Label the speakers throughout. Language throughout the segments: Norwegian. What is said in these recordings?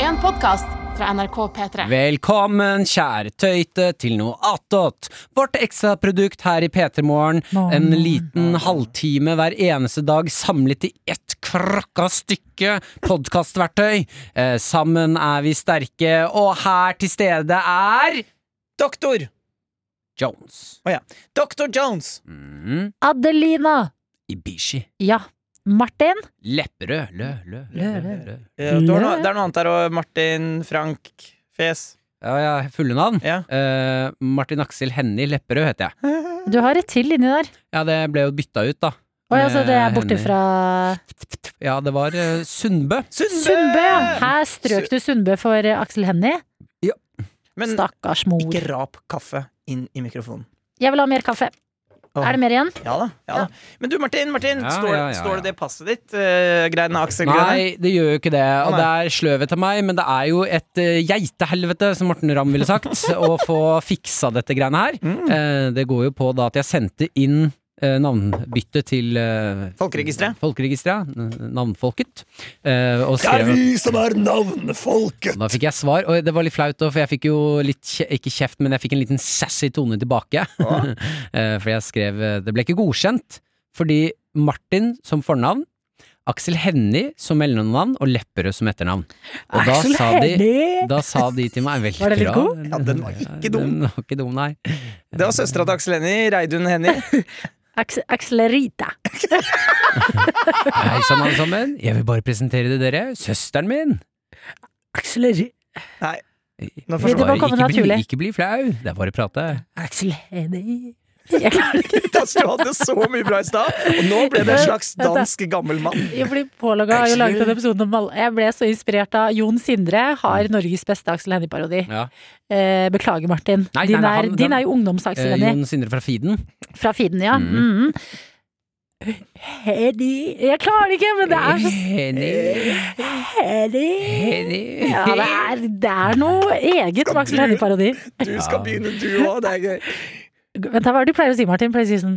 Speaker 1: en podkast fra NRK P3.
Speaker 2: Velkommen, kjære tøyte, til noe attåt. Vårt ekstraprodukt her i P3 Morgen. En liten halvtime hver eneste dag samlet i ett krakka stykke podkastverktøy. Eh, sammen er vi sterke, og her til stede er
Speaker 3: Doktor!
Speaker 2: Jones.
Speaker 3: Å ja. Doktor Jones!
Speaker 2: Mm.
Speaker 4: Adelina.
Speaker 2: Ibishi.
Speaker 4: Ja. Martin.
Speaker 2: Lepperød. Lø, lø, lø, lø, lø.
Speaker 3: Eh, du har noe, det er noe annet der òg. Martin Frank Fes.
Speaker 2: Ja, ja, fulle navn.
Speaker 3: Ja.
Speaker 2: Eh, Martin Aksel Hennie Lepperød heter jeg.
Speaker 4: Du har et til inni der.
Speaker 2: Ja, det ble jo bytta ut, da.
Speaker 4: Oi, altså, det er
Speaker 2: Med
Speaker 4: borte
Speaker 2: Hennie.
Speaker 4: fra
Speaker 2: Ja, det var eh, Sundbø.
Speaker 3: Sundbø!
Speaker 4: Sundbø, ja. Her strøk du Sundbø for eh, Aksel Hennie.
Speaker 3: Men
Speaker 4: Stakkars mor.
Speaker 3: ikke rap kaffe inn i mikrofonen.
Speaker 4: Jeg vil ha mer kaffe.
Speaker 3: Åh.
Speaker 4: Er det mer igjen?
Speaker 3: Ja da. ja da Men du, Martin, Martin
Speaker 2: Ja,
Speaker 3: står,
Speaker 2: ja, ja,
Speaker 3: står
Speaker 2: ja.
Speaker 3: det det passet ditt? Uh, greiene Aksel Grønne?
Speaker 2: Nei, det gjør jo ikke det. Og
Speaker 3: Nei.
Speaker 2: det er sløvet av meg, men det er jo et eh, geitehelvete, som Morten Ramm ville sagt, å få fiksa dette greiene her. Eh, det går jo på da at jeg sendte inn eh, navnbyttet til eh,
Speaker 3: Folkeregisteret.
Speaker 2: Folkeregisteret, ja. N- Navnfolket. Eh, og skrev
Speaker 3: som er navnefolket!
Speaker 2: da fikk jeg svar, og det var litt flaut, også, for jeg fikk jo litt, kje- ikke kjeft, men jeg fikk en liten sassy tone tilbake. Eh, Fordi jeg skrev eh, Det ble ikke godkjent, fordi Martin som fornavn, Aksel Hennie som mellomnavn og Lepperød som etternavn. Og da
Speaker 4: Aksel
Speaker 2: sa de,
Speaker 4: Hennie!
Speaker 2: da sa de til meg veldig
Speaker 4: Var det litt
Speaker 2: bra.
Speaker 4: god?
Speaker 3: Ja, den var ikke
Speaker 2: Ja,
Speaker 3: dum.
Speaker 2: Den var ikke dum, nei.
Speaker 3: Det var søstera til Aksel Hennie, Reidun Hennie.
Speaker 4: Aks Akselerita.
Speaker 2: Hei sann, alle sammen. Jeg vil bare presentere det dere. Søsteren min.
Speaker 4: Akseleri...
Speaker 3: Nei. Nå
Speaker 4: Vil du
Speaker 3: forsvarer
Speaker 4: bare komme
Speaker 2: ikke, bli,
Speaker 4: naturlig?
Speaker 2: ikke bli flau. Det er bare å prate.
Speaker 4: Aksel Hennie. Jeg klarer ikke
Speaker 3: jeg at du hadde så mye bra i stad, og nå ble det en slags dansk gammel mann.
Speaker 4: Jeg blir pålogga har jo laget en episode om alle. Jeg ble så inspirert av Jon Sindre har Norges beste Aksel Hennie-parodi.
Speaker 2: Mm. Ja.
Speaker 4: Eh, beklager, Martin.
Speaker 2: Nei, nei,
Speaker 4: din,
Speaker 2: nei,
Speaker 4: er,
Speaker 2: han-
Speaker 4: din
Speaker 2: den-
Speaker 4: er jo ungdoms-Aksel
Speaker 2: Eh,
Speaker 4: Hennie.
Speaker 2: Jon Sindre fra Feeden.
Speaker 4: Fra feeden, ja.
Speaker 2: Mm.
Speaker 4: Mhm. Hennie Jeg klarer det ikke, men det er så
Speaker 2: Hennie.
Speaker 4: Hennie
Speaker 2: Hennie.
Speaker 4: Ja, det er, det er noe eget sånn med Aksel Hennie-parodi.
Speaker 3: Du skal begynne, du òg. Det er gøy.
Speaker 4: Vent, hva er det du pleier å si, Martin? Pleier å si sånn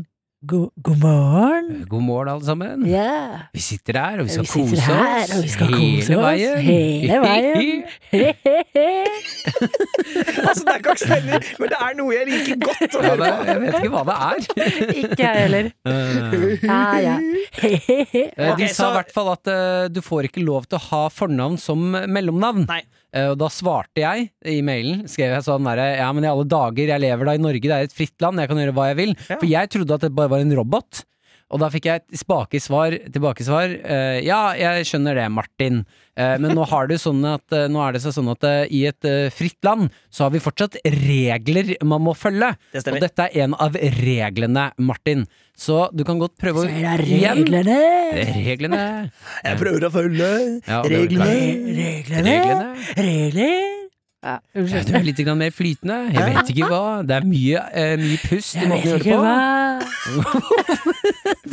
Speaker 4: God, god morgen.
Speaker 2: God morgen, alle sammen.
Speaker 4: Ja.
Speaker 2: Vi sitter her, og vi skal
Speaker 4: Vi sitter
Speaker 2: kose
Speaker 4: her,
Speaker 2: oss
Speaker 4: og vi skal kose oss hele veien. He-he-he.
Speaker 3: Altså, det er ikke Aksel Hennie, men det er noe jeg liker
Speaker 2: Ja,
Speaker 3: godt å
Speaker 2: det,
Speaker 3: høre på.
Speaker 2: jeg vet ikke hva det er.
Speaker 4: Ikke jeg heller.
Speaker 2: Eh,
Speaker 4: Ja, ja. He-he-he.
Speaker 2: de
Speaker 3: Ok,
Speaker 2: sa
Speaker 3: så-
Speaker 2: i hvert fall at eh, du får ikke lov til å ha fornavn som mellomnavn.
Speaker 3: Nei.
Speaker 2: Eh, og da svarte jeg i mailen, skrev jeg sånn derre Ja, men i alle dager, jeg lever da i Norge, det er et fritt land, jeg kan gjøre hva jeg vil.
Speaker 3: Ja.
Speaker 2: For jeg trodde at det bare var en robot. Og da fikk jeg et spakesvar, tilbakesvar. eh, ja, jeg skjønner det, Martin. Eh, men nå, har du sånn at, eh, nå er det så sånn at eh, i et eh, fritt land så har vi fortsatt regler man må følge. Og
Speaker 3: Det stemmer.
Speaker 2: dette er en av reglene, Martin. Så du kan godt prøve å
Speaker 4: Så er det
Speaker 2: Igjen.
Speaker 4: reglene.
Speaker 2: Det er Reglene.
Speaker 3: Jeg prøver å følge
Speaker 2: Ja, det er
Speaker 3: reglene.
Speaker 4: Reglene.
Speaker 2: Reglene.
Speaker 4: Regler.
Speaker 2: Ja,
Speaker 4: Ja, unnskyld.
Speaker 2: du er litt grann mer flytende. Jeg vet ikke hva. Det er mye, eh, mye pust i
Speaker 4: Jeg
Speaker 2: måten du gjør
Speaker 4: vet
Speaker 2: det
Speaker 4: ikke
Speaker 2: på.
Speaker 4: hva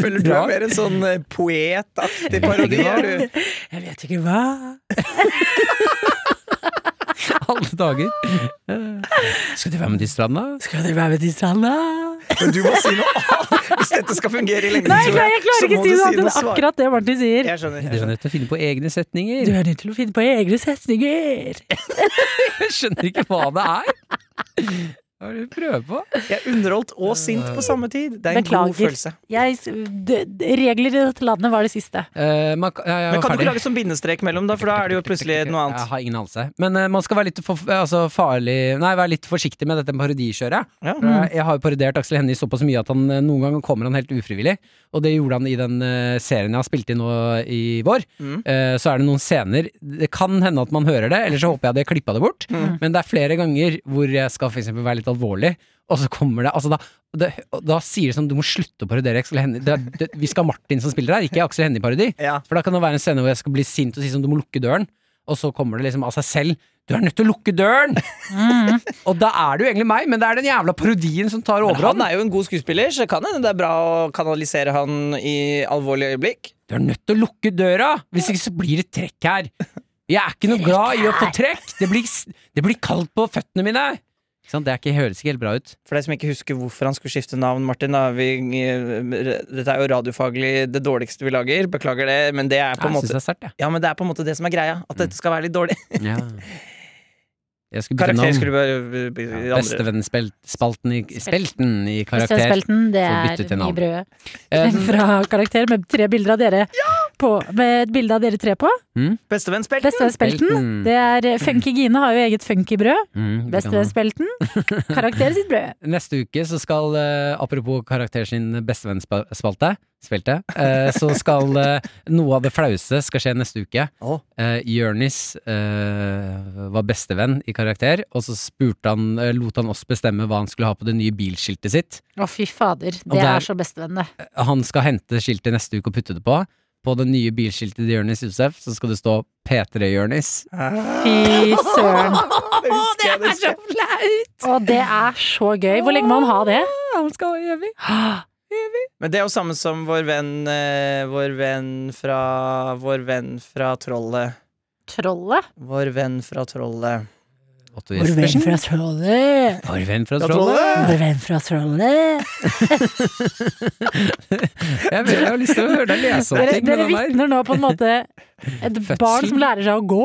Speaker 3: Føler du er mer en sånn eh, poetaktig parodi?
Speaker 2: Ja.
Speaker 3: er du?
Speaker 4: Jeg vet ikke hva
Speaker 2: Alle dager. Eh, Skal du være med til stranda?
Speaker 4: Skal dere være med til stranda?
Speaker 3: Men du må si noe annet hvis dette skal fungere i lengden.
Speaker 4: Nei, jeg
Speaker 3: tror
Speaker 4: klarer, jeg klarer
Speaker 3: Så
Speaker 4: ikke
Speaker 3: må
Speaker 4: å si
Speaker 3: du
Speaker 4: noe annet enn
Speaker 3: svar.
Speaker 4: akkurat det Martin sier.
Speaker 3: Jeg skjønner.
Speaker 2: Dere er nødt til å finne på egne
Speaker 4: Du
Speaker 2: setninger.
Speaker 4: er nødt til å finne på egne setninger.
Speaker 2: Jeg skjønner ikke hva det er. Hva er det du prøver på?
Speaker 3: Jeg er underholdt og sint på samme tid. Det er en
Speaker 4: Beklager.
Speaker 3: god følelse.
Speaker 4: Jeg, s- d- d- regler i dette landet var det siste.
Speaker 2: Eh, man, kan- ja, jeg
Speaker 3: Men
Speaker 2: var
Speaker 3: kan du
Speaker 2: ferdig.
Speaker 3: ikke lage sånn bindestrek mellom, da? For da er det jo plutselig noe
Speaker 2: Jeg
Speaker 3: annet.
Speaker 2: har ingen anelse. Men eh, man skal være litt, for, altså, farlig Nei, være litt forsiktig med dette parodikjøret.
Speaker 3: Ja.
Speaker 4: Mm.
Speaker 2: Eh, Jeg- Jeg har jo parodiert Aksel Hennie såpass mye at han eh, noen ganger kommer han helt ufrivillig. Og det gjorde han i den eh, serien jeg har spilt inn nå i vår.
Speaker 3: Mm.
Speaker 2: Eh, så er det noen scener Det kan hende at man hører det, eller så håper jeg de har klippa det bort. Men det er flere ganger hvor jeg skal for eksempel være litt alvorlig, og så kommer det Altså, da, det, og da sier det sånn Du må slutte å parodiere Aksel Hennie. Det, er- det, vi skal ha Martin som spiller her, ikke Aksel Hennie-parodi.
Speaker 3: Ja.
Speaker 2: For da kan det være en scene hvor jeg skal bli sint og si sånn Du må lukke døren. Og så kommer det liksom av seg selv. Du er nødt til å lukke døren! og da er det jo egentlig meg, men det er den jævla parodien som tar
Speaker 3: Men han
Speaker 2: overhånd.
Speaker 3: er jo en god skuespiller, så det kan hende det er bra å kanalisere han i alvorlige øyeblikk.
Speaker 2: Du er nødt til å lukke døra! Hvis ikke så blir det trekk her. Jeg er ikke noe glad i å få trekk. Det blir, det blir kaldt på føttene mine. Ikke sant? Det er ikke, høres ikke helt bra ut.
Speaker 3: For deg som ikke husker hvorfor han skulle skifte navn, Martin. Da, vi, eh, dette er jo radiofaglig det dårligste vi lager. Beklager det, men det er på en
Speaker 2: Jeg Mm. syns
Speaker 3: måte
Speaker 2: det er sterkt, jeg.
Speaker 3: ja, men det er på en måte det som er greia. At dette skal være litt dårlig.
Speaker 2: Ja. Jeg skulle bytte
Speaker 3: Karakter
Speaker 2: navn.
Speaker 3: skulle bare b- b-
Speaker 2: Ja,
Speaker 3: andre.
Speaker 2: Bestevennsspelten i, spelten i karakter.
Speaker 4: Søspelten, det
Speaker 2: Får
Speaker 4: er
Speaker 2: bytte til
Speaker 4: mye
Speaker 2: navn.
Speaker 4: brød.
Speaker 2: Eh,
Speaker 4: Fra karakter med tre bilder av dere på. Med et bilde av dere tre på.
Speaker 2: hm?
Speaker 3: Bestevennspelt.
Speaker 4: Bestevennspelten.
Speaker 2: Spelten.
Speaker 4: Det er eh, Funky Gine har jo eget funkybrød.
Speaker 2: mm, det kan man.
Speaker 4: Bestevennspelten. Karakter sitt brød.
Speaker 2: Neste uke så skal, eh, apropos karakter sin bestevennsspalte, svelte, eh, så skal eh, noe av det flaueste skal skje neste uke.
Speaker 3: Å.
Speaker 2: Eh, Jørnis eh, var bestevenn i karakter, og så spurte han, eh, lot han oss bestemme hva han skulle ha på det nye bilskiltet sitt.
Speaker 4: Å, fy fader.
Speaker 2: Og det
Speaker 4: Det
Speaker 2: er-
Speaker 4: er så bestevenn, det.
Speaker 2: Han skal hente skiltet neste uke og putte det på. På det nye bilskiltet til Jørnis Josef så skal det stå P3 Jørnis.
Speaker 4: Fy søren.
Speaker 3: Det husker jeg, det husker jeg.
Speaker 2: flaut!
Speaker 4: Og det er så gøy. Hvor lenge må han ha det?
Speaker 2: Han skal ha evig.
Speaker 3: Men det er jo samme som vår venn eh, Vår venn fra Vår venn fra trollet.
Speaker 4: Trollet?
Speaker 3: Vår venn fra trollet.
Speaker 2: Otto Jespersen.
Speaker 4: fra trollet?
Speaker 2: Arven fra
Speaker 3: Fra
Speaker 2: Trollet.
Speaker 3: trollet!
Speaker 4: venn fra trollet?
Speaker 2: Jeg, vet, jeg har lyst til å høre deg lese om
Speaker 4: Dere,
Speaker 2: ting. med
Speaker 4: dere
Speaker 2: den der.
Speaker 4: vitner nå på en måte et
Speaker 2: Fødsel.
Speaker 4: barn som lærer seg å gå.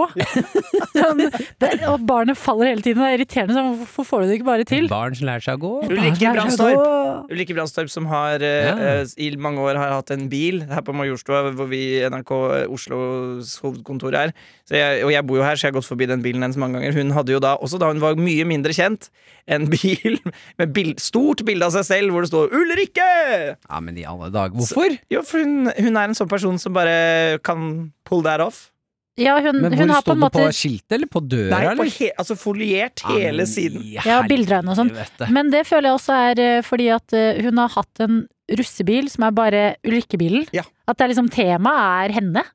Speaker 4: Sånn, det, og barnet faller hele tiden. Det er irriterende. Sånn, hvorfor får du det ikke bare til?
Speaker 2: Barn som lærer seg å gå.
Speaker 3: Ulrikke
Speaker 4: Barn lærer seg å gå.
Speaker 3: Ulrikke Brandstorp som har eh,
Speaker 2: Ja.
Speaker 3: eh, i mange år har hatt en bil her på Majorstua, hvor vi i NRK eh, Oslos hovedkontor er. Så jeg, og jeg bor jo her, så jeg har gått forbi den bilen hennes mange ganger. Hun hadde jo da, også da hun var mye mindre kjent, en bil med bild, stort bilde av seg selv hvor det står 'Ulrikke'!
Speaker 2: Ja, men i alle dager. Hvorfor?
Speaker 3: Jo, for hun, hun er en sånn person som bare kan pull that off.
Speaker 4: Ja, hun,
Speaker 2: Men
Speaker 4: hun
Speaker 2: hvor
Speaker 4: har på
Speaker 2: sto det
Speaker 4: en
Speaker 2: på
Speaker 4: måte
Speaker 2: skiltet, eller på døra,
Speaker 3: Nei, på
Speaker 2: eller?
Speaker 3: he, altså foliert hele siden.
Speaker 4: Ja, bilder av henne og sånn. Men det føler jeg også er eh, fordi at eh, hun har hatt en russebil som er bare ulykkebilen.
Speaker 3: Ja.
Speaker 4: At det er liksom temaet er henne.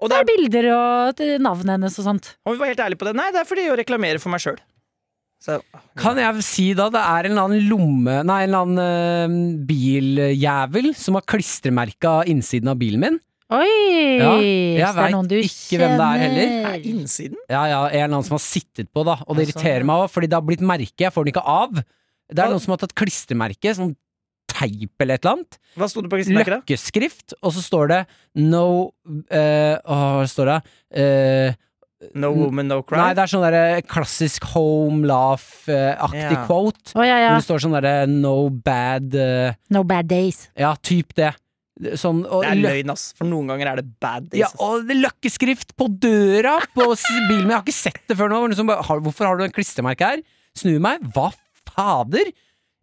Speaker 3: Og,
Speaker 4: Det
Speaker 3: det
Speaker 4: er
Speaker 3: er,
Speaker 4: bilder og eh, navnet hennes og sånt.
Speaker 3: og vi var helt ærlige på det. Nei, det er fordi jeg reklamerer for meg sjøl.
Speaker 2: Kan jeg si da det er en eller annen lomme Nei, en eller annen eh, biljævel som har klistremerka innsiden av bilen min?
Speaker 4: Oi!
Speaker 2: Ja,
Speaker 4: så
Speaker 2: jeg
Speaker 4: det er noen
Speaker 2: veit
Speaker 4: du
Speaker 2: ikke hvem det er heller.
Speaker 4: kjenner.
Speaker 3: Innsiden?
Speaker 2: Ja, ja, en eller annen som har sittet på, da. Og det
Speaker 3: Ja, sånn,
Speaker 2: irriterer
Speaker 3: ja.
Speaker 2: meg òg, fordi det har blitt merke. Jeg får den ikke av. Det
Speaker 3: Hva-
Speaker 2: er noen som har tatt klistremerke, sånn teip eller et eller annet.
Speaker 3: Hva sto det på klistremerket, da?
Speaker 2: Løkkeskrift, og så står det no eh, Åh, hva står det? Eh,
Speaker 3: No woman, no crime?
Speaker 2: nei, det er sånn derre klassisk home laugh-aktig
Speaker 3: Ja.
Speaker 2: quote.
Speaker 4: Å ja, ja.
Speaker 2: Hvor det står sånn derre no bad eh,
Speaker 4: No bad days.
Speaker 2: Ja, typ det. Sånn, og
Speaker 3: Det er
Speaker 2: lø-
Speaker 3: løgn, ass. For noen ganger er det bad days.
Speaker 2: Ja,
Speaker 3: ass.
Speaker 2: og det er løkkeskrift på døra på s- bilen min. Jeg har ikke sett det før nå. Hvor noen som bare, har, hvorfor har du en klistremerke her? Snur meg. Hva fader?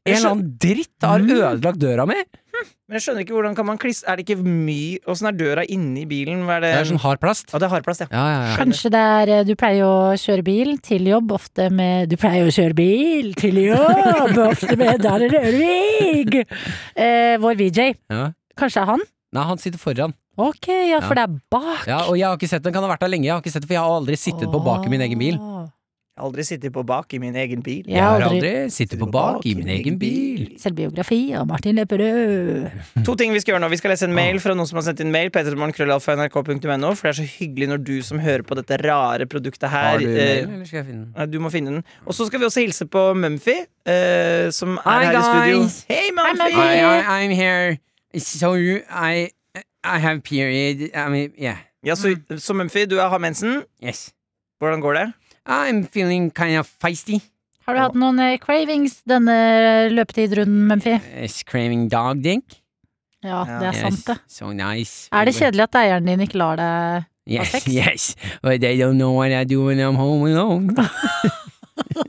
Speaker 2: En eller annen dritt har ødelagt døra mi.
Speaker 3: Men jeg skjønner ikke hvordan kan man klistre Er det ikke my... Åssen er døra inni bilen? Hva er det
Speaker 2: Det er sånn hard plast.
Speaker 3: Ja, det er hardplast, ja.
Speaker 2: Ja, ja, ja.
Speaker 4: Kanskje det er eh, Du pleier jo å kjøre bil til jobb, ofte med Du pleier å kjøre bil til jobb, ofte med Da er det Rørvig! Eh, vår VJ.
Speaker 2: Ja.
Speaker 4: Kanskje det er han?
Speaker 2: Nei, han sitter foran.
Speaker 4: Ok, ja, for
Speaker 2: Ja.
Speaker 4: det er bak.
Speaker 2: Ja, og jeg har ikke sett den. Kan ha vært der lenge. Jeg har ikke sett den, for jeg har aldri sittet på bak i min egen bil.
Speaker 4: Åh.
Speaker 3: Jeg har aldri sittet på bak i min egen bil.
Speaker 4: Jeg
Speaker 2: Jeg
Speaker 4: har
Speaker 2: har
Speaker 4: aldri
Speaker 2: aldri sittet på bak i min egen bil.
Speaker 4: Selvbiografi av Martin Lepperød.
Speaker 3: To ting vi skal gjøre nå. Vi skal lese en
Speaker 2: Ah.
Speaker 3: mail fra noen som har sendt inn mail. Petermorgenkrøllalfa.nrk.no. For det er så hyggelig når du som hører på dette rare produktet her
Speaker 2: Har du
Speaker 3: eh,
Speaker 2: mailen, eller skal jeg finne den?
Speaker 3: Nei, Du må finne den. Og så skal vi også hilse på Mumphy, eh, som er
Speaker 2: Hi,
Speaker 3: her i
Speaker 2: guys.
Speaker 3: studio. Hei, Mumphy!
Speaker 4: Mumphy.
Speaker 2: I, I, I'm here. So you, I, I have period. I mean, yeah.
Speaker 3: Ja, så, så Mumphy, du har mensen.
Speaker 2: Yes.
Speaker 3: Hvordan går det?
Speaker 2: I'm feeling kind of feisty.
Speaker 4: Har du hatt noen eh, cravings denne løpetidrunden, Mumphy?
Speaker 2: It's craving dog dick.
Speaker 4: Ja,
Speaker 3: Ja.
Speaker 4: det er sant, det.
Speaker 2: So nice.
Speaker 4: Er det kjedelig at eieren din ikke lar deg
Speaker 2: Yes,
Speaker 4: sex?
Speaker 2: yes. But they don't know what I do when I'm home alone.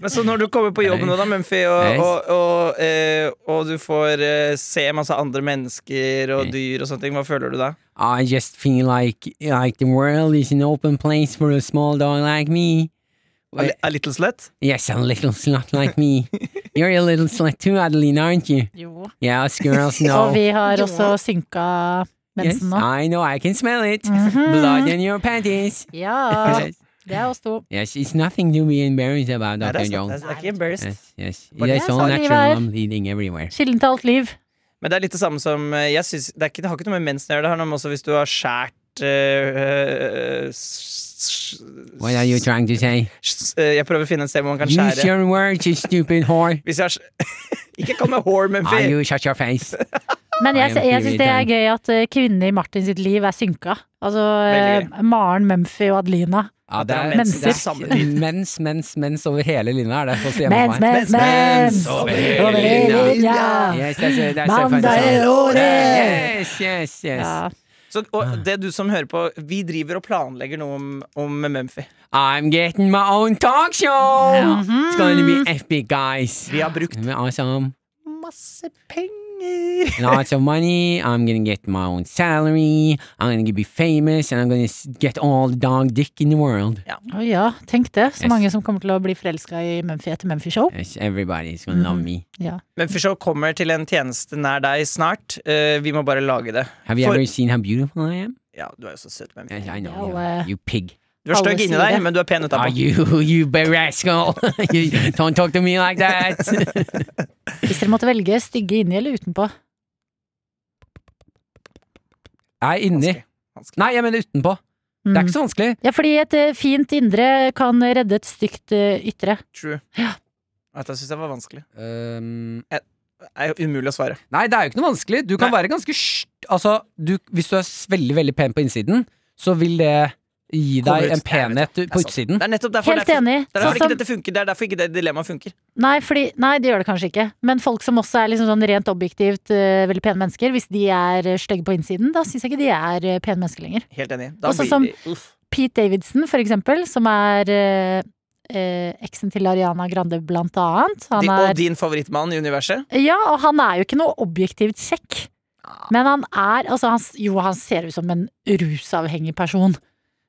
Speaker 3: Men så når du kommer på jobb nå, da, Mumphy, og,
Speaker 2: Nice.
Speaker 3: og, og, eh, og du får eh, se masse andre mennesker og
Speaker 2: Nice.
Speaker 3: dyr og sånne ting, hva føler du da?
Speaker 2: I just feel like like the world is an open place for a small dog like me.
Speaker 3: A, li- a little slut?
Speaker 2: Yes, a little slut like me. You're a little slut too, Adeline, aren't you?
Speaker 4: Jo.
Speaker 2: Yeah, us girls know.
Speaker 4: Og vi har også synka
Speaker 2: Yes,
Speaker 4: mensen nå.
Speaker 2: I know, I can smell it.
Speaker 4: Mm-hmm.
Speaker 2: Blood in your panties.
Speaker 4: Ja,
Speaker 2: Yes,
Speaker 4: det er oss to.
Speaker 2: yes, it's nothing to be embarrassed about,
Speaker 3: Nei, det
Speaker 2: Dr.
Speaker 3: er sant,
Speaker 2: Jones.
Speaker 3: det er ikke embarrassed.
Speaker 2: Yes, yes.
Speaker 3: But
Speaker 2: It's
Speaker 4: yes,
Speaker 2: all
Speaker 4: Oliver.
Speaker 2: natural, I'm bleeding everywhere.
Speaker 4: Kilden til alt liv.
Speaker 3: Men det er litt det samme som eh, jeg synes, det, er ikke, det har ikke noe med mensen å gjøre, det har noe med også hvis du har skjært eh, eh, s- s-
Speaker 2: What are you trying to say?
Speaker 3: s- eh, Jeg prøver å finne et sted hvor man kan
Speaker 2: Use
Speaker 3: skjære.
Speaker 2: your words, you stupid whore.
Speaker 3: Hvis jeg har s- Ikke kall meg whore,
Speaker 2: Are
Speaker 3: Mumphy!
Speaker 2: you shut your face?
Speaker 4: Men jeg,
Speaker 2: I am
Speaker 4: jeg syns det er
Speaker 2: Puritan.
Speaker 4: gøy at eh, kvinnene i Martin sitt liv er synka. Altså eh,
Speaker 3: Veldig
Speaker 4: Maren, Mumphy og Adelina.
Speaker 2: Ja, det
Speaker 3: At
Speaker 2: er
Speaker 3: det er
Speaker 4: mens- det er
Speaker 2: mens,
Speaker 3: samme tid.
Speaker 2: mens, mens, mens over hele linja er det også hjemme
Speaker 4: Mens,
Speaker 2: hos meg.
Speaker 4: mens, mens!
Speaker 2: Over
Speaker 4: Over hele
Speaker 2: hele linja.
Speaker 4: linja!
Speaker 2: Yes, yes, yes, that's so funny.
Speaker 4: Mandag i året!
Speaker 2: Yes, yes, yes.
Speaker 4: Ja.
Speaker 3: Så,
Speaker 2: Ah.
Speaker 3: og det du som hører på, vi driver og planlegger noe om, om Mumphy.
Speaker 2: I'm getting my own talk show!
Speaker 4: Mm-hmm.
Speaker 2: It's gonna be epic, guys.
Speaker 3: Vi har brukt
Speaker 2: It's awesome.
Speaker 3: masse penger!
Speaker 2: Lots of money. I'm gonna get my own salary. I'm gonna be famous, and I'm gonna s- get all the dog dick in the world.
Speaker 4: Å ja, tenk det. Så
Speaker 2: Yes.
Speaker 4: mange som kommer til å bli forelska i Mumphy etter Mumphy Show.
Speaker 2: Yes, everybody's gonna love
Speaker 3: Mm-hmm.
Speaker 2: me.
Speaker 4: Ja.
Speaker 3: Mumphy Show kommer til en tjeneste nær deg snart. Eh, vi må bare lage det.
Speaker 2: Have you
Speaker 3: For-
Speaker 2: ever seen how beautiful I am?
Speaker 3: Ja, du er jo så søt, Mumphy.
Speaker 2: Yes, I know.
Speaker 4: I'll,
Speaker 2: you,
Speaker 4: uh,
Speaker 2: you pig.
Speaker 3: Du er stygg
Speaker 4: Alle
Speaker 3: inni
Speaker 4: sier
Speaker 3: deg,
Speaker 4: det.
Speaker 3: men du er pen
Speaker 2: Are
Speaker 3: utapå.
Speaker 2: you, you big rascal? you, don't talk to me like that.
Speaker 4: Hvis dere måtte velge stygge inni eller utenpå.
Speaker 2: Jeg er inni.
Speaker 3: Vanskelig. Vanskelig.
Speaker 2: Nei, jeg mener utenpå.
Speaker 4: Mm.
Speaker 2: Det er ikke så vanskelig.
Speaker 4: Ja, fordi et eh, fint indre kan redde et stygt eh, ytre.
Speaker 3: True.
Speaker 4: Ja.
Speaker 3: Dette syns jeg var vanskelig.
Speaker 2: Um,
Speaker 3: Det er jo umulig å svare.
Speaker 2: nei, det er jo ikke noe vanskelig. Du kan
Speaker 3: Nei.
Speaker 2: være ganske st- Altså, du, hvis du er s- veldig, veldig pen på innsiden, så vil det gi
Speaker 3: Kommer
Speaker 2: deg
Speaker 3: ut.
Speaker 2: en penhet
Speaker 3: Det er
Speaker 2: på
Speaker 3: sant.
Speaker 2: utsiden.
Speaker 3: Det er nettopp derfor,
Speaker 4: Mm. Helt
Speaker 3: derfor,
Speaker 4: enig.
Speaker 3: det er
Speaker 4: Sånn
Speaker 3: derfor ikke
Speaker 4: som-
Speaker 3: dette funker. Det er derfor ikke det dilemmaet funker.
Speaker 4: Nei, fordi, nei, det gjør det kanskje ikke. Men folk som også er liksom sånn rent objektivt eh, veldig pene mennesker, hvis de er eh, stygge på innsiden, da syns jeg ikke de er eh, pene mennesker lenger.
Speaker 3: Helt enig. Da
Speaker 4: Også
Speaker 3: blir
Speaker 4: som-
Speaker 3: de- uff.
Speaker 4: Pete Davidson, for eksempel, som er eh, eh, eksen til Ariana Grande, blant annet.
Speaker 3: Di-
Speaker 4: Han
Speaker 3: Og
Speaker 4: er,
Speaker 3: din favorittmann i universet?
Speaker 4: ja, og han er jo ikke noe objektivt kjekk.
Speaker 3: Ah.
Speaker 4: Men han er altså, han, s- Jo, han ser ut som en rusavhengig person.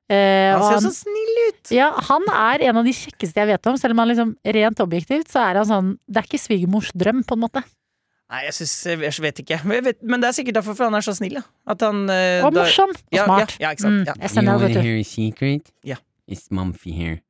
Speaker 4: Eh,
Speaker 3: Han
Speaker 4: og
Speaker 3: ser jo
Speaker 4: han-
Speaker 3: så snill ut!
Speaker 4: Ja, han er en av de kjekkeste jeg vet om, selv om han liksom rent objektivt, så er han sånn Det er ikke svigermors drøm, på en måte.
Speaker 3: Nei, jeg, synes, jeg vet ikke. Men, jeg vet, men det er sikkert derfor for han er så snill, ja. At han eh,
Speaker 4: Og
Speaker 3: da-
Speaker 4: morsom og
Speaker 3: Ja,
Speaker 4: smart.
Speaker 3: ja, ja, ikke sant.
Speaker 4: Mm,
Speaker 3: Ja.
Speaker 4: Jeg
Speaker 2: You
Speaker 4: sender
Speaker 2: wanna
Speaker 4: det, vet du.
Speaker 2: hear a secret?
Speaker 3: Yeah.
Speaker 2: It's Mumphy here.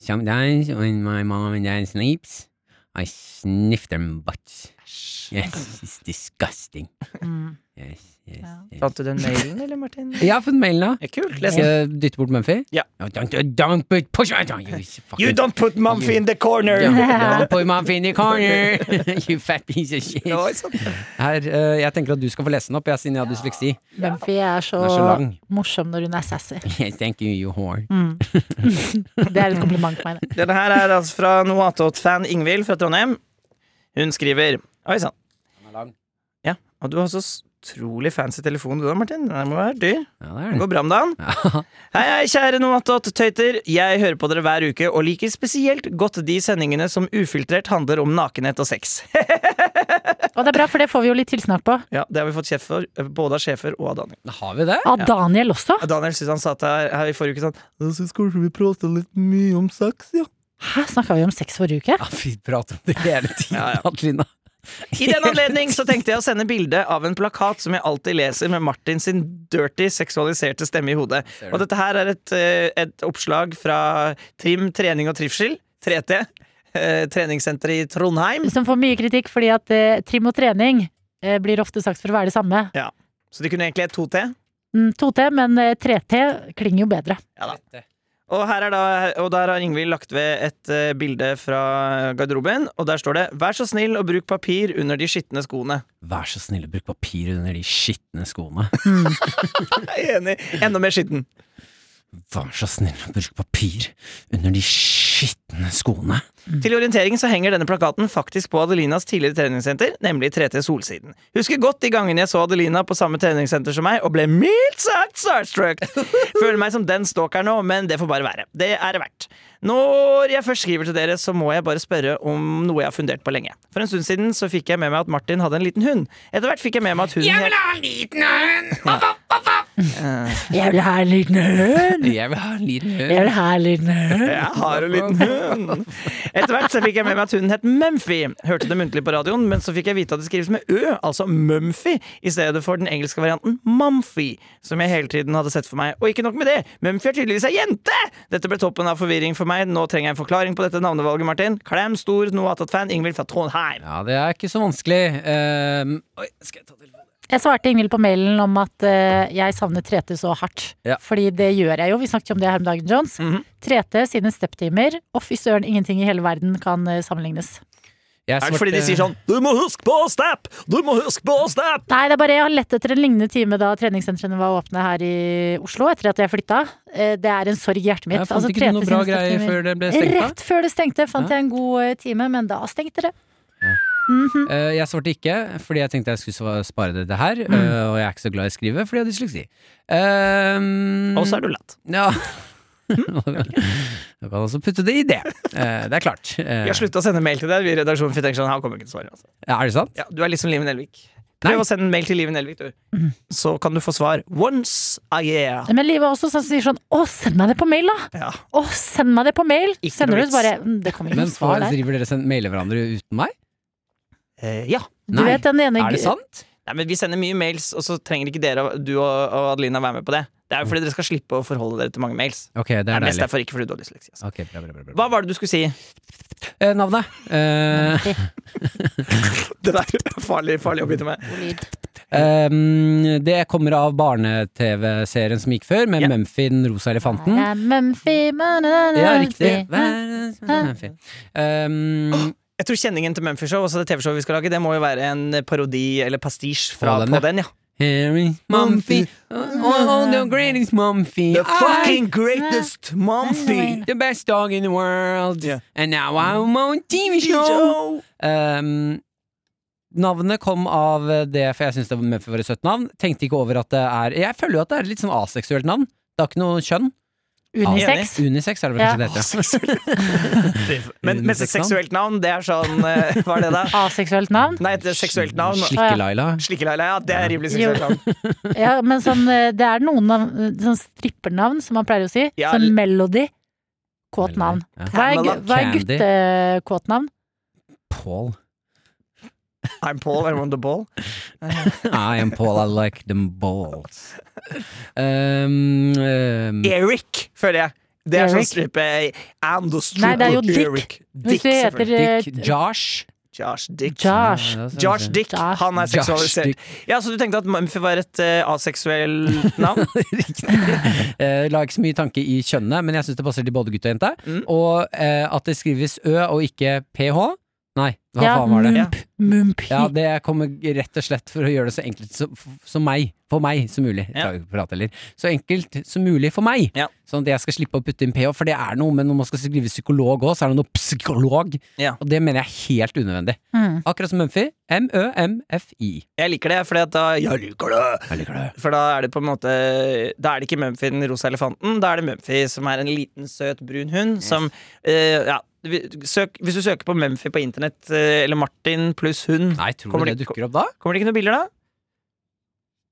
Speaker 2: Sometimes when my mom and dad sleeps, I sniff their butts. Yes, it's disgusting.
Speaker 4: Mm.
Speaker 2: Yes, yes,
Speaker 4: Ja.
Speaker 2: yes.
Speaker 3: Fant du den mailen, eller, Martin?
Speaker 2: Jeg har fått mailen, da.
Speaker 3: Ja, kult. Les
Speaker 2: Skal jeg
Speaker 3: den.
Speaker 2: dytte bort Mumphy?
Speaker 3: Ja.
Speaker 2: No, don't, don't put, push my tongue, you fucking-
Speaker 3: You don't put Mumphy in the corner!
Speaker 2: Yeah, don't put Mumphy in the corner, you fat piece of shit.
Speaker 3: Ja, ikke sant?
Speaker 2: Her, eh, jeg tenker at du skal få lese den opp, jeg, siden jeg har dysleksi.
Speaker 4: Mumphy er så,
Speaker 2: Den er så lang.
Speaker 4: morsom når hun er sassy. Mm.
Speaker 2: Yes, thank you, you whore.
Speaker 4: Det er et kompliment for meg. det.
Speaker 3: Denne her er altså fra Noatot-fan Ingvild fra Trondheim. Hun skriver Oi sann. Ja, og du har så utrolig fancy telefon du da, Martin. Den her må være dyr.
Speaker 2: Ja, det er
Speaker 3: Det
Speaker 2: den.
Speaker 3: går bra med dagen. Hei, hei, kjære Noatot-tøyter. Jeg hører på dere hver uke og liker spesielt godt de sendingene som ufiltrert handler om nakenhet og sex.
Speaker 4: Og det er bra, for det får vi jo litt tilsnakk på.
Speaker 3: ja, Det har vi fått kjeft for, eh, både av sjefer og av Daniel.
Speaker 2: Har vi det?
Speaker 4: Av Daniel også?
Speaker 3: Daniel synes han sa til her, her i forrige uke sånn Jeg syns kanskje vi prata litt mye om sex, ja.
Speaker 4: Hæ, snakka vi om sex forrige uke?
Speaker 2: Ja, vi prater om det hele tiden,
Speaker 3: Ja, ja.
Speaker 2: Adelina.
Speaker 3: I den anledning så tenkte jeg å sende bilde av en plakat som jeg alltid leser med Martin sin dirty, seksualiserte stemme i hodet.
Speaker 2: Ser du.
Speaker 3: Og dette her er et, eh, et oppslag fra Trim trening og trivsel, 3T, eh, treningssenteret i Trondheim.
Speaker 4: Som får mye kritikk fordi at eh, trim og trening eh, blir ofte sagt for å være det samme.
Speaker 3: Så de kunne egentlig hett 2T.
Speaker 4: Mm, 2T, men eh, 3T klinger jo bedre.
Speaker 3: Ja, da. Og, her er da, og der har Ingvild lagt ved et eh, bilde fra garderoben, og der står det 'Vær så snill og bruk papir under de skitne skoene'.
Speaker 2: Vær så snill å bruke papir under de skitne skoene.
Speaker 3: Jeg er enig. Enda mer skitten.
Speaker 2: Vær så snill å bruke papir under de skitne skoene.
Speaker 3: Til orientering så henger denne plakaten faktisk på Adelinas tidligere treningssenter, nemlig 3T Solsiden. Husker godt de gangene jeg så Adelina på samme treningssenter som meg, og ble mildt sagt starstruck. Føler meg som den stalker nå, men det får bare være. Det er det verdt. Når jeg først skriver til dere, så må jeg bare spørre om noe jeg har fundert på lenge. For en stund siden så fikk jeg med meg at Martin hadde en liten hund. Etter hvert fikk jeg med meg at hunden
Speaker 2: ha en liten hund!
Speaker 4: Jeg vil ha en liten hund!
Speaker 2: Jeg vil ha en liten
Speaker 4: Jeg
Speaker 2: hund.
Speaker 4: vil ha en liten hund!
Speaker 3: Jeg har en liten hund. Etter hvert så fikk jeg med meg at hunden het Mumphy. Hørte det muntlig på radioen, men så fikk jeg vite at det skrives med Ø, altså Mumphy, i stedet for den engelske varianten Mumphy, som jeg hele tiden hadde sett for meg. Og ikke nok med det, Mumphy er tydeligvis ei jente! Dette ble toppen av forvirring for meg. Nå trenger jeg en forklaring på dette navnevalget, Martin. Klem stor Noatat-fan Ingvild fra Trondheim.
Speaker 2: Ja, det er ikke så vanskelig. Ehm, oi, skal jeg ta telefonen?
Speaker 4: Jeg svarte Ingvild på mailen om at eh, jeg savner 3T så hardt.
Speaker 2: Ja.
Speaker 4: Fordi det gjør jeg jo. Vi snakket jo om det her om dagen, Jones.
Speaker 3: Mhm.
Speaker 4: 3T sine stepptimer. Å, fy søren, ingenting i hele verden kan eh, sammenlignes.
Speaker 2: Jeg
Speaker 3: Er det fordi de
Speaker 2: svarte-
Speaker 3: sier sånn 'Du må huske på å step! Du må huske på å step!'
Speaker 4: Nei, det er bare jeg har lett etter en lignende time da treningssentrene var åpne her i Oslo, etter at jeg flytta. Eh, Det er en sorg i hjertet mitt.
Speaker 2: Jeg fant
Speaker 4: Altså,
Speaker 2: ikke
Speaker 4: 3T
Speaker 2: noe
Speaker 4: sine
Speaker 2: bra greier
Speaker 4: stepptimer.
Speaker 2: før det ble stengt av.
Speaker 4: Rett før det stengte, fant jeg en god eh, time, men da stengte det.
Speaker 2: Eh, jeg svarte ikke, fordi jeg tenkte jeg skulle sva- spare dette her. eh, og jeg er ikke så glad i å skrive, fordi jeg har dysleksi. Um,
Speaker 3: Og så Mm. er du lett.
Speaker 2: Ja. Du kan også putte det i det. Eh, det er klart. Eh,
Speaker 3: Vi har slutta å sende mail til deg, vi i redaksjonen. For vi tenker sånn, han kommer ikke til å svare. Altså.
Speaker 2: er det sant?
Speaker 3: Ja, du er liksom Liven Elvik. Prøv
Speaker 2: Nei.
Speaker 3: å sende en mail til Liven Elvik, du. Så kan du få svar once a year.
Speaker 4: Men Live er også sånn som sier sånn Å, send meg det på mail, da!
Speaker 3: Ja.
Speaker 4: Å, send meg det på mail!
Speaker 3: Ikke
Speaker 4: Sender du
Speaker 3: noe
Speaker 4: det, så bare «Mm, Det kommer ikke
Speaker 2: Men
Speaker 4: noe svar
Speaker 2: får,
Speaker 4: der.
Speaker 2: driver dere og sender- mailer hverandre uten meg?
Speaker 3: Eh, ja.
Speaker 4: Du
Speaker 2: Nei.
Speaker 4: vet den ene
Speaker 2: Er det
Speaker 4: gu-
Speaker 2: sant?
Speaker 3: Nei, men vi sender mye mails, og så trenger ikke dere, du og, og Adelina være med på det. Det er jo fordi dere skal slippe å forholde dere til mange mails.
Speaker 2: Ok, det
Speaker 3: Det
Speaker 2: er
Speaker 3: er mest
Speaker 2: deilig.
Speaker 3: derfor ikke fordi du har dysleksi. Altså.
Speaker 2: Ok, bra, bra, bra, bra.
Speaker 3: Hva var det du skulle si?
Speaker 2: Eh, navnet? Eh,
Speaker 3: Det der er farlig, farlig å begynne med.
Speaker 2: ehm, det kommer av barne-TV-serien som gikk før, med
Speaker 3: Ja.
Speaker 2: Memfin, Rosa elefanten.
Speaker 4: Ja, Mumphy, ma, na, na, Mm.
Speaker 2: Ja,
Speaker 4: na,
Speaker 2: riktig.
Speaker 4: Mumphy, ma.
Speaker 2: Verdens Memfin. Ehm,
Speaker 3: Jeg tror kjenningen til Memphis Show, også det TV-showet vi skal lage, det må jo være en parodi eller pastisj fra
Speaker 2: På den,
Speaker 3: på
Speaker 2: ja.
Speaker 3: den, ja.
Speaker 2: Harry Mumphy, oh, oh, the greatest Mumphy. I-
Speaker 3: greatest
Speaker 4: Mumphy.
Speaker 2: the best dog in the world.
Speaker 3: Yeah.
Speaker 2: And now I'm on TV show! Ehm, navnet kom av det, for jeg syns det var Mumphy var et søtt navn. Tenkte ikke over at det er Jeg føler jo at det er et litt sånn aseksuelt navn. Det har ikke noe kjønn.
Speaker 4: Unisex.
Speaker 2: Unisex er det vel
Speaker 4: Ja.
Speaker 2: kanskje det heter.
Speaker 3: Men mens et seksuelt navn, det er sånn eh, Hva er det, da?
Speaker 4: Aseksuelt navn.
Speaker 3: Nei, et seksuelt navn.
Speaker 2: Slikke-Laila.
Speaker 3: Slikkeleila, ja. Det er rimelig seksuelt navn.
Speaker 4: Ja, men sånn, eh, det er noen navn, sånn strippernavn, som man pleier å si.
Speaker 3: Ja,
Speaker 4: Sånn
Speaker 3: l-
Speaker 4: melody.
Speaker 2: Melody,
Speaker 4: Kåt navn.
Speaker 2: ja.
Speaker 4: Hva er, gu-
Speaker 3: Pamela
Speaker 4: hva er
Speaker 2: Candy.
Speaker 4: guttekåt navn?
Speaker 2: Paul.
Speaker 3: I'm Paul, I'm on the ball.
Speaker 2: I am Paul, I like them balls. Ehm, ehm,
Speaker 3: Eric, føler jeg. Det er sånn
Speaker 4: Mm. Eric?
Speaker 3: stripe I'm the stripper
Speaker 4: Nei, det er jo Dick.
Speaker 3: Eric.
Speaker 4: Hvis du heter
Speaker 3: selvfølgelig.
Speaker 4: eh,
Speaker 2: Dick Josh.
Speaker 3: Josh Dick.
Speaker 4: Josh.
Speaker 2: Ja, det er
Speaker 3: Josh
Speaker 2: sant.
Speaker 3: Dick.
Speaker 4: Josh.
Speaker 3: Han er
Speaker 2: Josh
Speaker 3: seksualisert.
Speaker 2: Dick.
Speaker 3: Ja, Så du tenkte at Mumphy var et eh, aseksuelt navn?
Speaker 2: Eh, la ikke så mye tanke i kjønnet, men jeg syns det passer til både gutt og jente.
Speaker 3: Mm.
Speaker 2: Og eh, at det skrives Ø og ikke PH. Nei, hva
Speaker 4: Ja,
Speaker 2: faen var det?
Speaker 3: Ja.
Speaker 4: mump, mumpi.
Speaker 2: Ja, det kommer rett og slett for å gjøre det så enkelt som, som meg, for meg som mulig. Jeg
Speaker 3: Ja.
Speaker 2: klarer ikke å prate heller. Så enkelt som mulig for meg,
Speaker 3: Ja.
Speaker 2: sånn at jeg skal slippe å putte inn PH, for det er noe, men når man skal skrive psykolog òg, så er det noe psykolog,
Speaker 3: Ja.
Speaker 2: og det mener jeg er helt unødvendig.
Speaker 4: Mm.
Speaker 2: Akkurat som Mumphy. M-ø-m-f-i.
Speaker 3: Jeg liker det, fordi at da Jeg liker det!
Speaker 2: Jeg liker det.
Speaker 3: For da er det på en måte Da er det ikke Mumphy den rosa elefanten, da er det Mumphy som er en liten, søt, brun hund som eh, Ja, vi- søk, hvis du søker på Mumphy på internett, eh, eller Martin pluss hund,
Speaker 2: Nei, tror
Speaker 3: Kommer
Speaker 2: du det
Speaker 3: det-
Speaker 2: dukker opp da?
Speaker 3: kommer det ikke noen bilder da?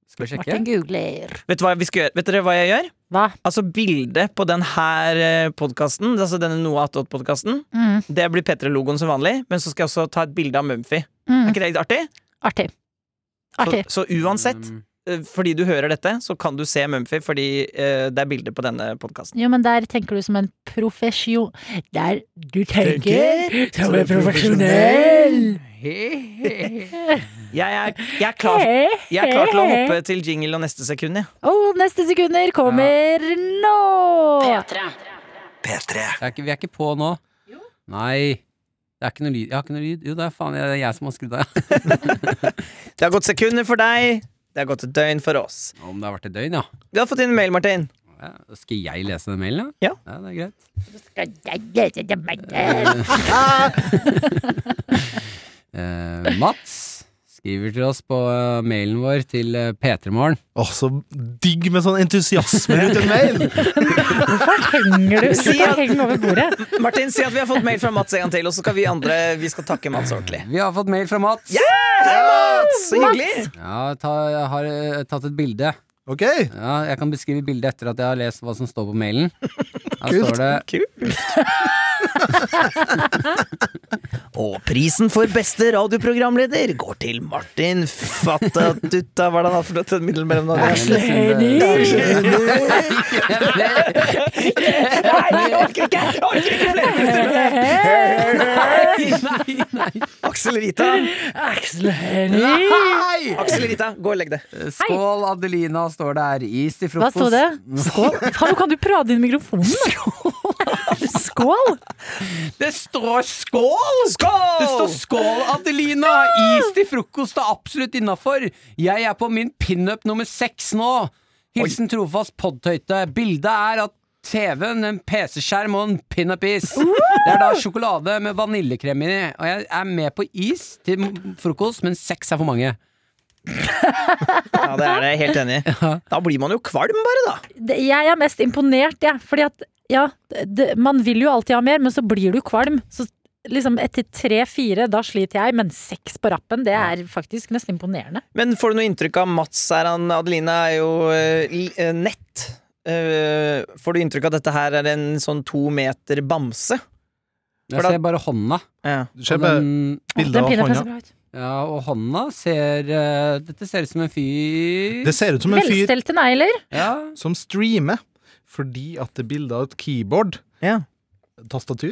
Speaker 2: Skal vi sjekke?
Speaker 4: Martin googler.
Speaker 3: Vet, du hva vi skal gjøre? Vet dere hva jeg gjør?
Speaker 4: Hva?
Speaker 3: Altså, bildet på den her podkasten, altså denne Noah Attåt-podkasten,
Speaker 4: Mm.
Speaker 3: det blir P3-logoen som vanlig, men så skal jeg også ta et bilde av Mumphy. Er
Speaker 4: Mm.
Speaker 3: ikke det litt artig?
Speaker 4: Artig.
Speaker 3: Så,
Speaker 4: Artig.
Speaker 3: så uansett,
Speaker 2: Mm.
Speaker 3: eh, fordi du hører dette, så kan du se Mumphy fordi eh, det er bilder på denne podkasten.
Speaker 4: Jo, men der tenker du som en profesjon... Der du tenker som en profesjonell!
Speaker 3: Jeg er, jeg, er klar, jeg er klar til å hoppe til jingle og neste sekund, jeg.
Speaker 4: Eh, Og neste sekunder kommer nå!
Speaker 1: P3.
Speaker 2: Det er ikke, vi er ikke på nå. Nei. Det er ikke noe lyd. Jeg har ikke noe lyd. Jo, det er faen det er jeg som har skrudd av.
Speaker 3: Det har gått sekunder for deg, det har gått et døgn for oss.
Speaker 2: Om det har vært et døgn, ja.
Speaker 3: Vi har fått inn en mail, Martin.
Speaker 2: ja. Skal jeg lese den mailen,
Speaker 3: Ja.
Speaker 2: ja det er greit. Eh, Mats skriver til oss på eh, mailen vår til eh, P3morgen.
Speaker 5: Åh, så digg med sånn entusiasme rundt en mail!
Speaker 4: Hvorfor henger du
Speaker 3: Si
Speaker 4: Slutt å
Speaker 3: at-
Speaker 4: henge over bordet?
Speaker 3: Martin, si at vi har fått mail fra Mats en gang til, og så skal vi andre vi skal takke Mats ordentlig.
Speaker 2: Vi har fått mail fra Mats.
Speaker 3: Hei, Mats! Så hyggelig!
Speaker 2: Ja, ta, jeg har eh, tatt et bilde.
Speaker 5: Ok,
Speaker 2: Ja, jeg kan beskrive bildet etter at jeg har lest hva som står på mailen. Her står det
Speaker 3: Kult. og prisen for beste radioprogramleder går til Martin Fattatutta Hva er det han har for noe middelmellomnavn? Jeg orker ikke! Jeg orker ikke flere!
Speaker 2: Nei, nei, nei.
Speaker 3: Aksel Rita!
Speaker 4: Aksel Hennie!
Speaker 3: Aksel Rita, gå og legg det.
Speaker 2: Skål, Adelina, står det her. Is til
Speaker 4: Hva
Speaker 2: frokost.
Speaker 4: sto det? Skål? Hallo, kan du prate inn i mikrofonen? Skål!
Speaker 2: Det står skål!
Speaker 3: Skål!
Speaker 2: Det står skål, Adelina! Is til frokost er absolutt innafor. Jeg er på min pinup nummer seks nå. Hilsen trofast podtøyte. Bildet er at TV-en, en PC-skjerm og en pinup-is. Det er da sjokolade med vaniljekrem inni. Og jeg er med på is til m- frokost, men seks er for mange.
Speaker 3: Ja, det er det. Helt enig. Da blir man jo kvalm, bare, da.
Speaker 4: Det- Jeg er mest imponert, jeg. Fordi at, ja, det, man vil jo alltid ha mer, men så blir du kvalm. Så liksom etter tre-fire, da sliter jeg, men seks på rappen, det er faktisk nesten imponerende.
Speaker 3: Men får du noe inntrykk av Mats her? Han, Adelina er jo eh, li- eh, nett. Eh, får du inntrykk av at dette her er en sånn to meter bamse?
Speaker 2: Jeg
Speaker 3: For da-
Speaker 2: ser bare hånda.
Speaker 3: Ja.
Speaker 5: Du ser
Speaker 2: Og
Speaker 5: bare
Speaker 2: den-
Speaker 5: bildet av
Speaker 4: pinner
Speaker 5: hånda.
Speaker 4: bra ut.
Speaker 2: ja, og hånda ser eh, Dette ser ut som en fyr
Speaker 5: Det ser ut som en fyr
Speaker 4: Velstelte negler.
Speaker 2: Ja.
Speaker 5: som streamer, fordi at det er bilde av et keyboard.
Speaker 3: Ja.
Speaker 5: Tastatur.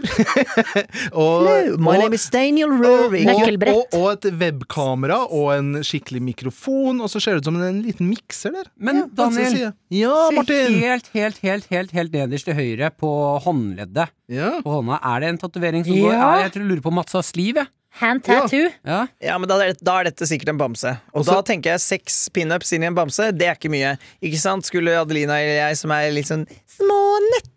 Speaker 5: og, og,
Speaker 3: is Daniel
Speaker 4: Nøkkelbrett.
Speaker 5: Og, og et webkamera og en skikkelig mikrofon, og så ser det ut som en liten mikser der.
Speaker 2: Men
Speaker 5: Ja, på venstre
Speaker 2: Daniel,
Speaker 5: side. Ja,
Speaker 2: Se
Speaker 5: Martin!
Speaker 2: Helt, helt, helt, helt, helt nederst til høyre på håndleddet
Speaker 5: Ja.
Speaker 2: på hånda. Er det en tatovering som
Speaker 4: Ja.
Speaker 2: går? Ja, jeg tror jeg lurer på Matsas liv, jeg.
Speaker 4: Hand tattoo.
Speaker 2: Ja.
Speaker 3: Ja, men da er, det- da er dette sikkert en bamse. Og da tenker jeg seks pinups inn i en bamse, det er ikke mye. Ikke sant? Skulle Adelina eller jeg, som er litt sånn små nette,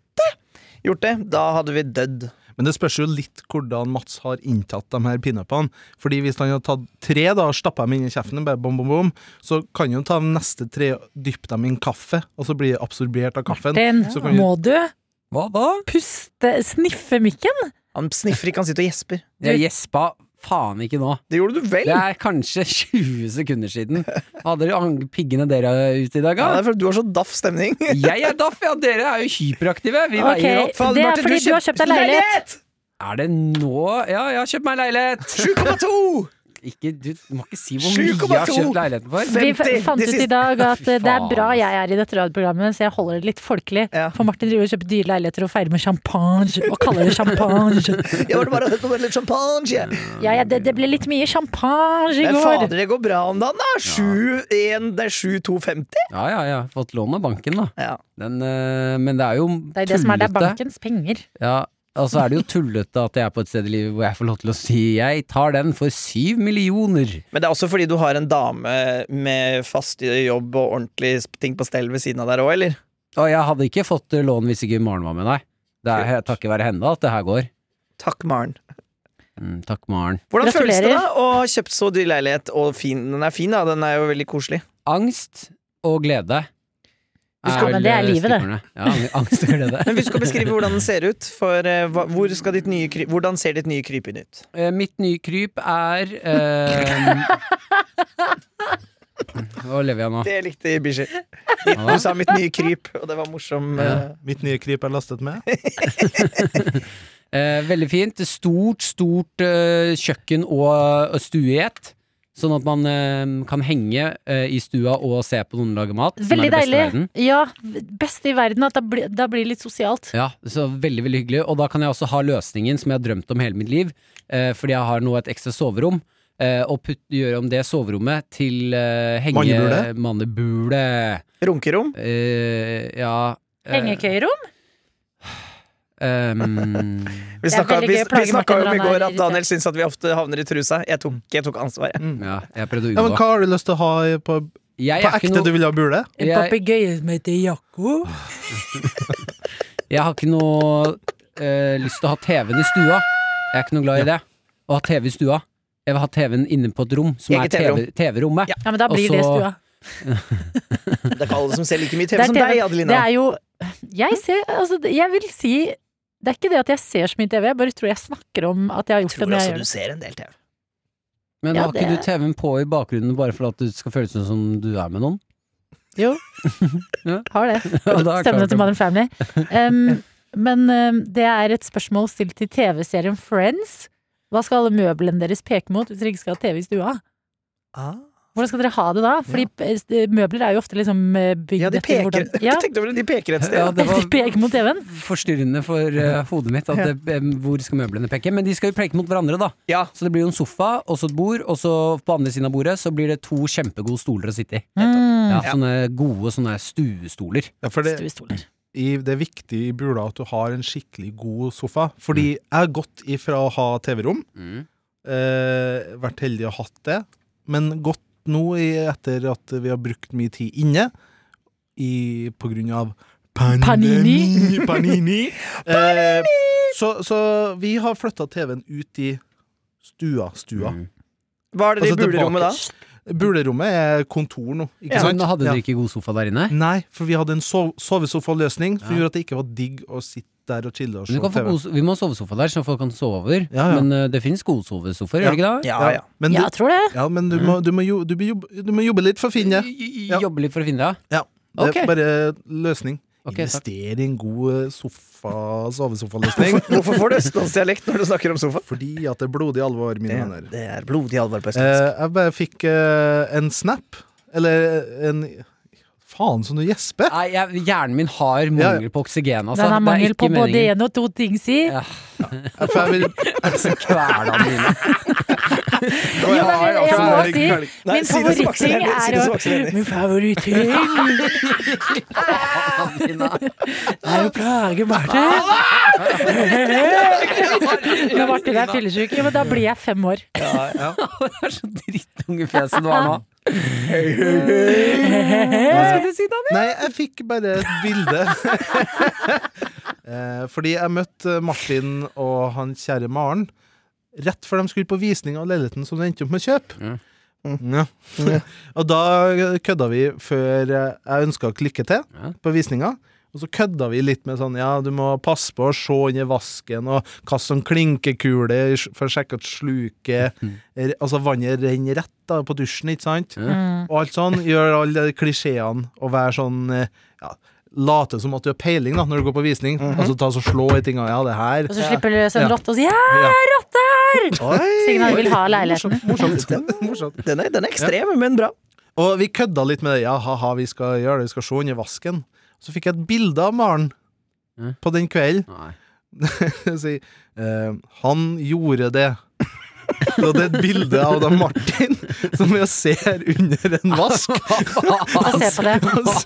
Speaker 3: gjort det, da hadde vi dødd.
Speaker 5: Men det spørs jo litt hvordan Mats har inntatt de her pinnupene. Fordi hvis han har tatt tre da, og stappa dem inn i kjeften, bare bom, bom, bom, så kan han ta de neste tre og dyppe dem i en kaffe, og så blir det absorbert av kaffen.
Speaker 4: Den
Speaker 5: Så kan
Speaker 4: må du
Speaker 2: Hva da?
Speaker 4: puste Sniffe mikken.
Speaker 3: Han sniffer ikke, han sitter og gjesper.
Speaker 2: Jeg gjespa faen ikke nå.
Speaker 3: Det gjorde du vel?
Speaker 2: Det
Speaker 3: Ja,
Speaker 2: er kanskje 20 sekunder siden. Hadde dere ang- piggene dere ute i dag,
Speaker 3: det
Speaker 2: da?
Speaker 3: er fordi du har så daff stemning.
Speaker 2: Jeg er daff, ja. Dere er jo hyperaktive. Vi veier
Speaker 4: Ok,
Speaker 2: opp.
Speaker 3: Faen,
Speaker 4: det er
Speaker 3: Martin,
Speaker 4: fordi du har kjøpt deg leilighet.
Speaker 2: Er det nå Ja, jeg har kjøpt meg leilighet.
Speaker 3: 7,2!
Speaker 2: Ikke, du må ikke si hvor mye jeg har
Speaker 3: 7,2.
Speaker 2: kjøpt leiligheten for.
Speaker 4: Vi
Speaker 3: 50,
Speaker 4: f- fant
Speaker 3: det
Speaker 4: ut i
Speaker 3: siste.
Speaker 4: dag at
Speaker 2: Fy
Speaker 4: eh, det er
Speaker 2: faen.
Speaker 4: bra jeg er i dette radioprogrammet, så jeg holder det litt folkelig.
Speaker 3: Ja.
Speaker 4: For Martin driver og kjøper dyre leiligheter og feirer med champagne, og kaller det champagne.
Speaker 3: Jeg var bare og litt champagne. jeg.
Speaker 4: Ja, ja, det, det ble litt mye champagne i
Speaker 3: Men fader,
Speaker 4: går.
Speaker 3: det går bra om dagen, da. 7,1, det er 7,250.
Speaker 2: Ja, ja, ja. Fått lån av banken, da.
Speaker 3: Ja.
Speaker 2: Den, eh, men det er jo
Speaker 4: Det er det som er det er
Speaker 2: tullete.
Speaker 4: bankens penger.
Speaker 2: Ja, og så er det jo tullete at jeg er på et sted i livet hvor jeg får lov til å si jeg tar den for syv millioner.
Speaker 3: Men det er også fordi du har en dame med fast jobb og ordentlig ting på stell ved siden av der òg, eller?
Speaker 2: Og jeg hadde ikke fått eh, lån hvis ikke Maren var med, nei. Det er takket være henne at det her går.
Speaker 3: Takk, Maren.
Speaker 2: Mm, takk, Maren.
Speaker 3: Hvordan føles det
Speaker 4: Gratulerer.
Speaker 3: da å ha kjøpt så dyr leilighet? Og fin, den er fin, da. Den er jo veldig koselig.
Speaker 2: Angst og glede.
Speaker 4: Du skal- men det er livet, det.
Speaker 2: stikkordene. Ja, ang- angst og glede.
Speaker 3: Men hvis du skal beskrive hvordan den ser ut for, eh, hva, hvor skal ditt nye, kry- Hvordan ser ditt nye krypinn ut?
Speaker 2: Eh, mitt nye kryp er eh, Hva lever jeg nå?
Speaker 3: Det likte Bishy. Du sa mitt nye kryp, og det var morsom. eh,
Speaker 5: Mitt nye kryp er lastet med.
Speaker 2: Eh, veldig fint. Stort, stort eh, kjøkken og, og stue i ett. Sånn at man eh, kan henge eh, i stua og se på noen lage mat. som
Speaker 4: Veldig
Speaker 2: er det beste i
Speaker 4: deilig.
Speaker 2: verden.
Speaker 4: Ja, beste i verden. At da blir, da blir det litt sosialt.
Speaker 2: Ja, så veldig, veldig hyggelig. Og da kan jeg også ha løsningen som jeg har drømt om hele mitt liv, eh, fordi jeg har nå et ekstra soverom. eh, og putt, gjøre om det soverommet til eh, henge...
Speaker 5: Mannebule?
Speaker 2: Mannebule.
Speaker 3: Runkerom.
Speaker 2: Eh, ja eh,
Speaker 4: Hengekøyerom?
Speaker 2: ehm,
Speaker 3: Vi
Speaker 4: Det er
Speaker 3: snakka
Speaker 4: veldig
Speaker 3: vi,
Speaker 4: gøy å plage
Speaker 3: vi snakka
Speaker 4: Martin
Speaker 3: jo om
Speaker 4: når han er
Speaker 3: i går at
Speaker 4: irritert.
Speaker 3: Daniel syns at vi ofte havner i trusa. Jeg tok, jeg tok ansvaret.
Speaker 5: Mm.
Speaker 2: ja, jeg prøvde å
Speaker 5: Ja, men
Speaker 2: unngå.
Speaker 5: Hva har du lyst til å ha i- på,
Speaker 2: Jeg
Speaker 5: på
Speaker 2: er ikke
Speaker 5: ekte
Speaker 2: noe-
Speaker 5: du vil ha bule?
Speaker 4: En
Speaker 2: Jeg-
Speaker 4: papegøye som heter Jakko?
Speaker 2: Jeg har ikke noe eh, lyst til å ha TV-en i stua. Jeg er ikke noe glad i det. Å ha TV i stua. Jeg vil ha TV-en inne på et rom, som
Speaker 3: Eget
Speaker 2: er TV- TV-rommet.
Speaker 3: Ja.
Speaker 4: Ja, men da blir
Speaker 2: Og
Speaker 4: det
Speaker 2: så-
Speaker 4: stua.
Speaker 3: Det er ikke alle som ser like mye TV
Speaker 4: Det
Speaker 3: som
Speaker 4: er TV.
Speaker 3: deg, Adelina.
Speaker 4: Det er jo Jeg ser Altså, det- jeg vil si Det er ikke det at jeg ser så mye TV, jeg bare tror jeg snakker om at jeg har
Speaker 3: jeg
Speaker 4: gjort det
Speaker 3: tror
Speaker 4: når jeg
Speaker 3: også
Speaker 4: gjør
Speaker 3: du
Speaker 4: det.
Speaker 3: ser en del TV.
Speaker 2: Men
Speaker 4: Ja,
Speaker 2: har ikke
Speaker 4: det-
Speaker 2: du TV-en på i bakgrunnen bare for at du skal føles som du er med noen?
Speaker 4: Jo.
Speaker 2: Ja.
Speaker 4: Har det.
Speaker 2: Ja, da er klart
Speaker 4: Stemmene til
Speaker 2: det.
Speaker 4: Modern Family. Um, men um, det er et spørsmål stilt til TV-serien
Speaker 5: Ah.
Speaker 4: Friends. Hva skal alle møblene deres peke mot hvis dere ikke skal ha TV i stua? Hvordan skal dere ha det da? Fordi eh, møbler er jo ofte liksom eh, bygd
Speaker 3: Ja, de
Speaker 4: etter
Speaker 3: peker,
Speaker 4: hvordan ja,
Speaker 3: Jeg tenkte over det, de peker et sted.
Speaker 2: Ja, det var-
Speaker 4: de peker mot TV-en.
Speaker 2: Forstyrrende for eh, hodet mitt at det, eh, hvor skal møblene peke. Men de skal jo peke mot hverandre, da.
Speaker 3: Ja.
Speaker 2: Så det blir jo en sofa og så et bord, og så på andre siden av bordet så blir det to kjempegode stoler å sitte i.
Speaker 4: Mm.
Speaker 2: Ja, sånne gode sånne stuestoler.
Speaker 5: Ja, for det,
Speaker 4: Stuestoler.
Speaker 5: i, det er viktig i Bula at du har en skikkelig god sofa. Fordi jeg har gått ifra å ha TV-rom, eh, vært heldig og hatt det, men gått nå i, etter at vi har brukt mye tid inne i, på grunn av
Speaker 4: Panini.
Speaker 5: pandemi- Panini! eh, så, så vi har flytta TV-en ut i stua. stua.
Speaker 2: Mm.
Speaker 3: Hva er det i
Speaker 5: Altså,
Speaker 3: bulerommet da?
Speaker 5: Bulerommet er kontor nå. Ikke
Speaker 3: Ja.
Speaker 5: sant?
Speaker 2: Men Sånn, hadde
Speaker 5: Ja.
Speaker 2: dere ikke god sofa der inne?
Speaker 5: Nei, for vi hadde en sov sovesofa-løsning som
Speaker 2: Ja.
Speaker 5: gjorde at det ikke var digg å sitte der og chille og
Speaker 2: Men
Speaker 5: se
Speaker 2: du kan få
Speaker 5: TV.
Speaker 2: god, so- vi må ha sovesofa der, så folk kan sove over.
Speaker 5: Ja, ja.
Speaker 2: Men eh, det fins gode sovesofaer, gjør det ikke det?
Speaker 3: Ja, ja.
Speaker 5: Men,
Speaker 4: Ja,
Speaker 5: du,
Speaker 4: jeg tror det.
Speaker 5: ja, men du, må, du, må jo, du, må jobbe, du må jobbe litt for å finne det.
Speaker 2: J-
Speaker 5: Ja.
Speaker 2: Jobbe litt for å finne det, ja.
Speaker 5: Ja, det
Speaker 2: Ok.
Speaker 5: er bare løsning.
Speaker 2: Ok, takk.
Speaker 5: Invester i en god eh, sofa, sovesofa-løsning.
Speaker 3: Hvorfor får du østlandsdialekt når du snakker om sofa?
Speaker 5: fordi at det er blodig alvor, mine venner.
Speaker 3: det er blodig alvor på
Speaker 5: Eh, jeg bare fikk eh, en snap, eller eh, en Faen, som du gjesper!
Speaker 2: Nei, jeg, hjernen min har mangel på oksygen, altså.
Speaker 4: Den har mangel på både
Speaker 2: meningen.
Speaker 4: én og to ting, si.
Speaker 2: Ja.
Speaker 5: For jeg vil
Speaker 2: Kvelene mine.
Speaker 4: Jo, men jeg, jeg
Speaker 5: altså,
Speaker 4: må
Speaker 5: det
Speaker 4: si
Speaker 5: er-
Speaker 3: Nei,
Speaker 4: Min
Speaker 3: si det som Aksel
Speaker 4: favoritting
Speaker 3: Hennie, si
Speaker 4: er å
Speaker 3: det som Aksel Hennie.
Speaker 4: Min favoritting er å plage Martin. Nå ble jeg der fyllesyk. Jo, men da blir jeg fem år.
Speaker 2: Det er så drittungefjeset du har nå.
Speaker 5: Nei, jeg fikk bare et bilde. Eh, Fordi jeg møtte Martin og han kjære Maren rett før de skulle på visning av leiligheten som de endte opp med å kjøpe.
Speaker 2: Mm.
Speaker 5: Ja. og da kødda vi før eh, jeg ønska dere lykke til
Speaker 2: Ja.
Speaker 5: på visninga. Og så kødda vi litt med sånn ja, du må passe på å se under vasken og kaste sånn klinkekule i sj- for å sjekke at sluket er- Altså vannet renner rett da på dusjen, ikke sant?
Speaker 4: Mm.
Speaker 5: Og alt sånn. Gjør alle de klisjeene og være sånn eh, ja, Late som at du har peiling da når du går på visning. Altså ta så slå i tinga. Ja, det her
Speaker 4: Og så slipper du en
Speaker 5: Ja.
Speaker 4: rotte og sier 'ja,
Speaker 5: Ja.
Speaker 4: rotte her'! Sikkert han vil ha leiligheten.
Speaker 5: Morsomt, morsomt. morsomt.
Speaker 3: Den er, den er ekstrem, men bra.
Speaker 5: Og vi kødda litt med det. Ja, ha-ha, vi skal gjøre det, vi skal se under vasken. Så fikk jeg et bilde av Maren
Speaker 2: Mm.
Speaker 5: på den kvelden.
Speaker 2: Nei.
Speaker 5: si, eh, han gjorde det. Så det er et bilde av da Martin som jeg ser under en vask.
Speaker 4: Få se på det.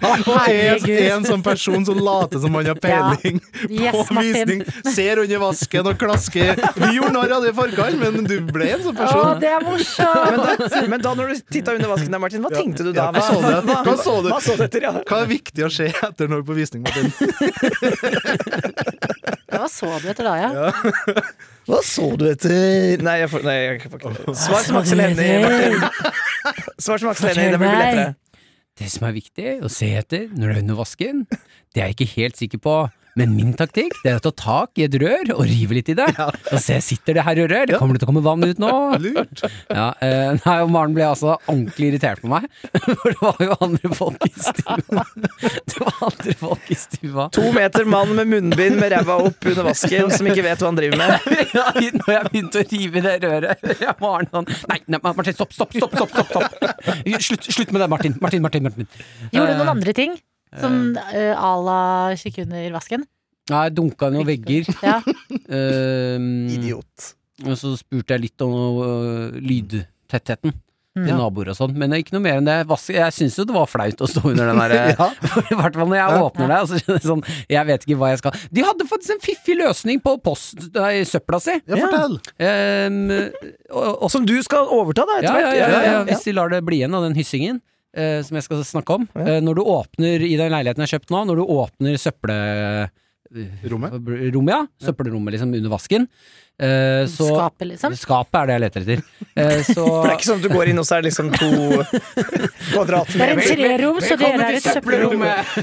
Speaker 5: Og en, en sånn person som later som han har peiling
Speaker 4: Yes,
Speaker 5: på visning,
Speaker 4: Martin.
Speaker 5: ser under vasken og klasker. Vi gjorde narr av det i forkant, men du ble en
Speaker 4: Å,
Speaker 5: sånn person.
Speaker 4: det er morsomt!
Speaker 3: Men da, men da når du titta under vasken der, Martin, hva tenkte du da?
Speaker 5: Ja, hva så du?
Speaker 3: hva,
Speaker 5: Hva så du?
Speaker 3: hva så du etter? Ja.
Speaker 5: Hva er viktig å se etter når på visning, Martin?
Speaker 4: Hva så du etter da, ja?
Speaker 3: Hva så du etter? Nei, jeg får, nei, jeg får ikke det. Svar som Aksel Hennie, Martin. Svar som Aksel Hennie, det blir lettere.
Speaker 2: Det som er viktig å se etter når det er under vasken, det er jeg ikke helt sikker på. Men min taktikk det er å ta tak i et rør og rive litt i det. Og se, sitter det her i røret? Kommer det til å komme vann ut nå?
Speaker 5: Lurt.
Speaker 2: Ja, eh, nei, og Maren ble altså ordentlig irritert på meg. For det var jo andre folk i stua. Det var andre folk i stua.
Speaker 3: To meter mann med munnbind med ræva opp under vasken, som ikke vet hva han driver med.
Speaker 2: Ja, Når jeg begynte å rive i det røret, hører jeg Maren sånn Nei, nei Martin, stopp, stopp, stopp! stopp, stopp, stopp. Slutt, slutt med det, Martin. Martin, Martin, Martin.
Speaker 4: Gjorde du noen andre ting? Som eh, à la kikke under vasken?
Speaker 2: Nei, jeg dunka noen vegger.
Speaker 4: Ja.
Speaker 2: Ehm,
Speaker 3: Idiot.
Speaker 2: og så spurte jeg litt om øh, lydtettheten til
Speaker 5: Ja.
Speaker 2: naboer og sånn. Men ikke noe mer enn det. Vask- Jeg syns jo det var flaut å stå under den der øh,
Speaker 5: Ja.
Speaker 2: I hvert fall når jeg åpner det. Og så kjenner jeg sånn Jeg vet ikke hva jeg skal De hadde faktisk en fiffig løsning på post, nei, søpla si.
Speaker 5: Ja, fortell.
Speaker 2: Ehm, og, og,
Speaker 3: Som du skal overta, da,
Speaker 2: ja,
Speaker 3: etter
Speaker 2: ja,
Speaker 3: hvert.
Speaker 2: ja, ja, ja, hvis de lar det bli igjen av den hyssingen. eh, som jeg skal snakke om. Eh, når du åpner i den leiligheten jeg har kjøpt nå, når du åpner
Speaker 5: Rommet.
Speaker 2: søppelrommet, ja, søppelrommet liksom under vasken, eh, så
Speaker 4: Skapet, liksom.
Speaker 2: Skapet er det jeg leter etter. Eh, så
Speaker 3: For det er ikke sånn at du går inn, og så er det liksom to
Speaker 4: Det er en
Speaker 3: kvadratmeter.
Speaker 4: trerom, så dere er et søppelrom.
Speaker 2: Eh,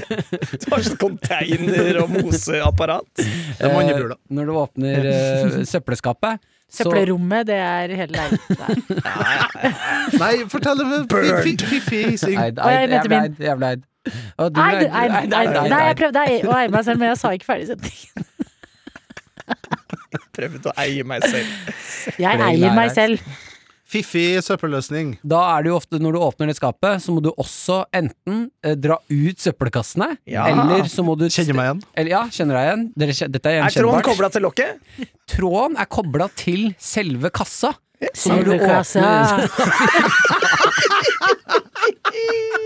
Speaker 3: Du har sånn container og moseapparat.
Speaker 2: Eh,
Speaker 5: Det er mange bjørner.
Speaker 2: når du åpner eh, søppelskapet, så
Speaker 4: Søppelrommet, det er hele leiligheten. der.
Speaker 5: Nei, fortell om
Speaker 3: Bird.
Speaker 5: fiffig hissing.
Speaker 2: Eid,
Speaker 4: Og
Speaker 2: eid,
Speaker 4: jeg mente
Speaker 2: jævla
Speaker 4: min.
Speaker 2: eid, jævla eid. Og du
Speaker 4: Nei,
Speaker 2: eid,
Speaker 4: det- nei,
Speaker 2: eid,
Speaker 4: nei,
Speaker 2: eid, eid,
Speaker 4: nei, jeg
Speaker 2: eid.
Speaker 4: prøvde å eie meg selv, men jeg sa ikke ferdig setningen.
Speaker 3: Prøvd å eie meg selv.
Speaker 4: Jeg
Speaker 2: Ble
Speaker 4: eier meg
Speaker 2: lærer.
Speaker 4: selv.
Speaker 5: Fiffig søppelløsning.
Speaker 2: Da er det jo ofte når du åpner det skapet, så må du også enten eh, dra ut søppelkassene,
Speaker 3: Ja.
Speaker 2: eller så må du
Speaker 5: Kjenner meg igjen.
Speaker 2: Eller, ja, kjenner deg igjen. Dere, kje- dette er
Speaker 3: Er Trond
Speaker 2: gjenkjennbart.
Speaker 3: kobla til lokket?
Speaker 2: Tråden er kobla til selve kassa. Så når du
Speaker 4: Silverkassa.
Speaker 2: åpner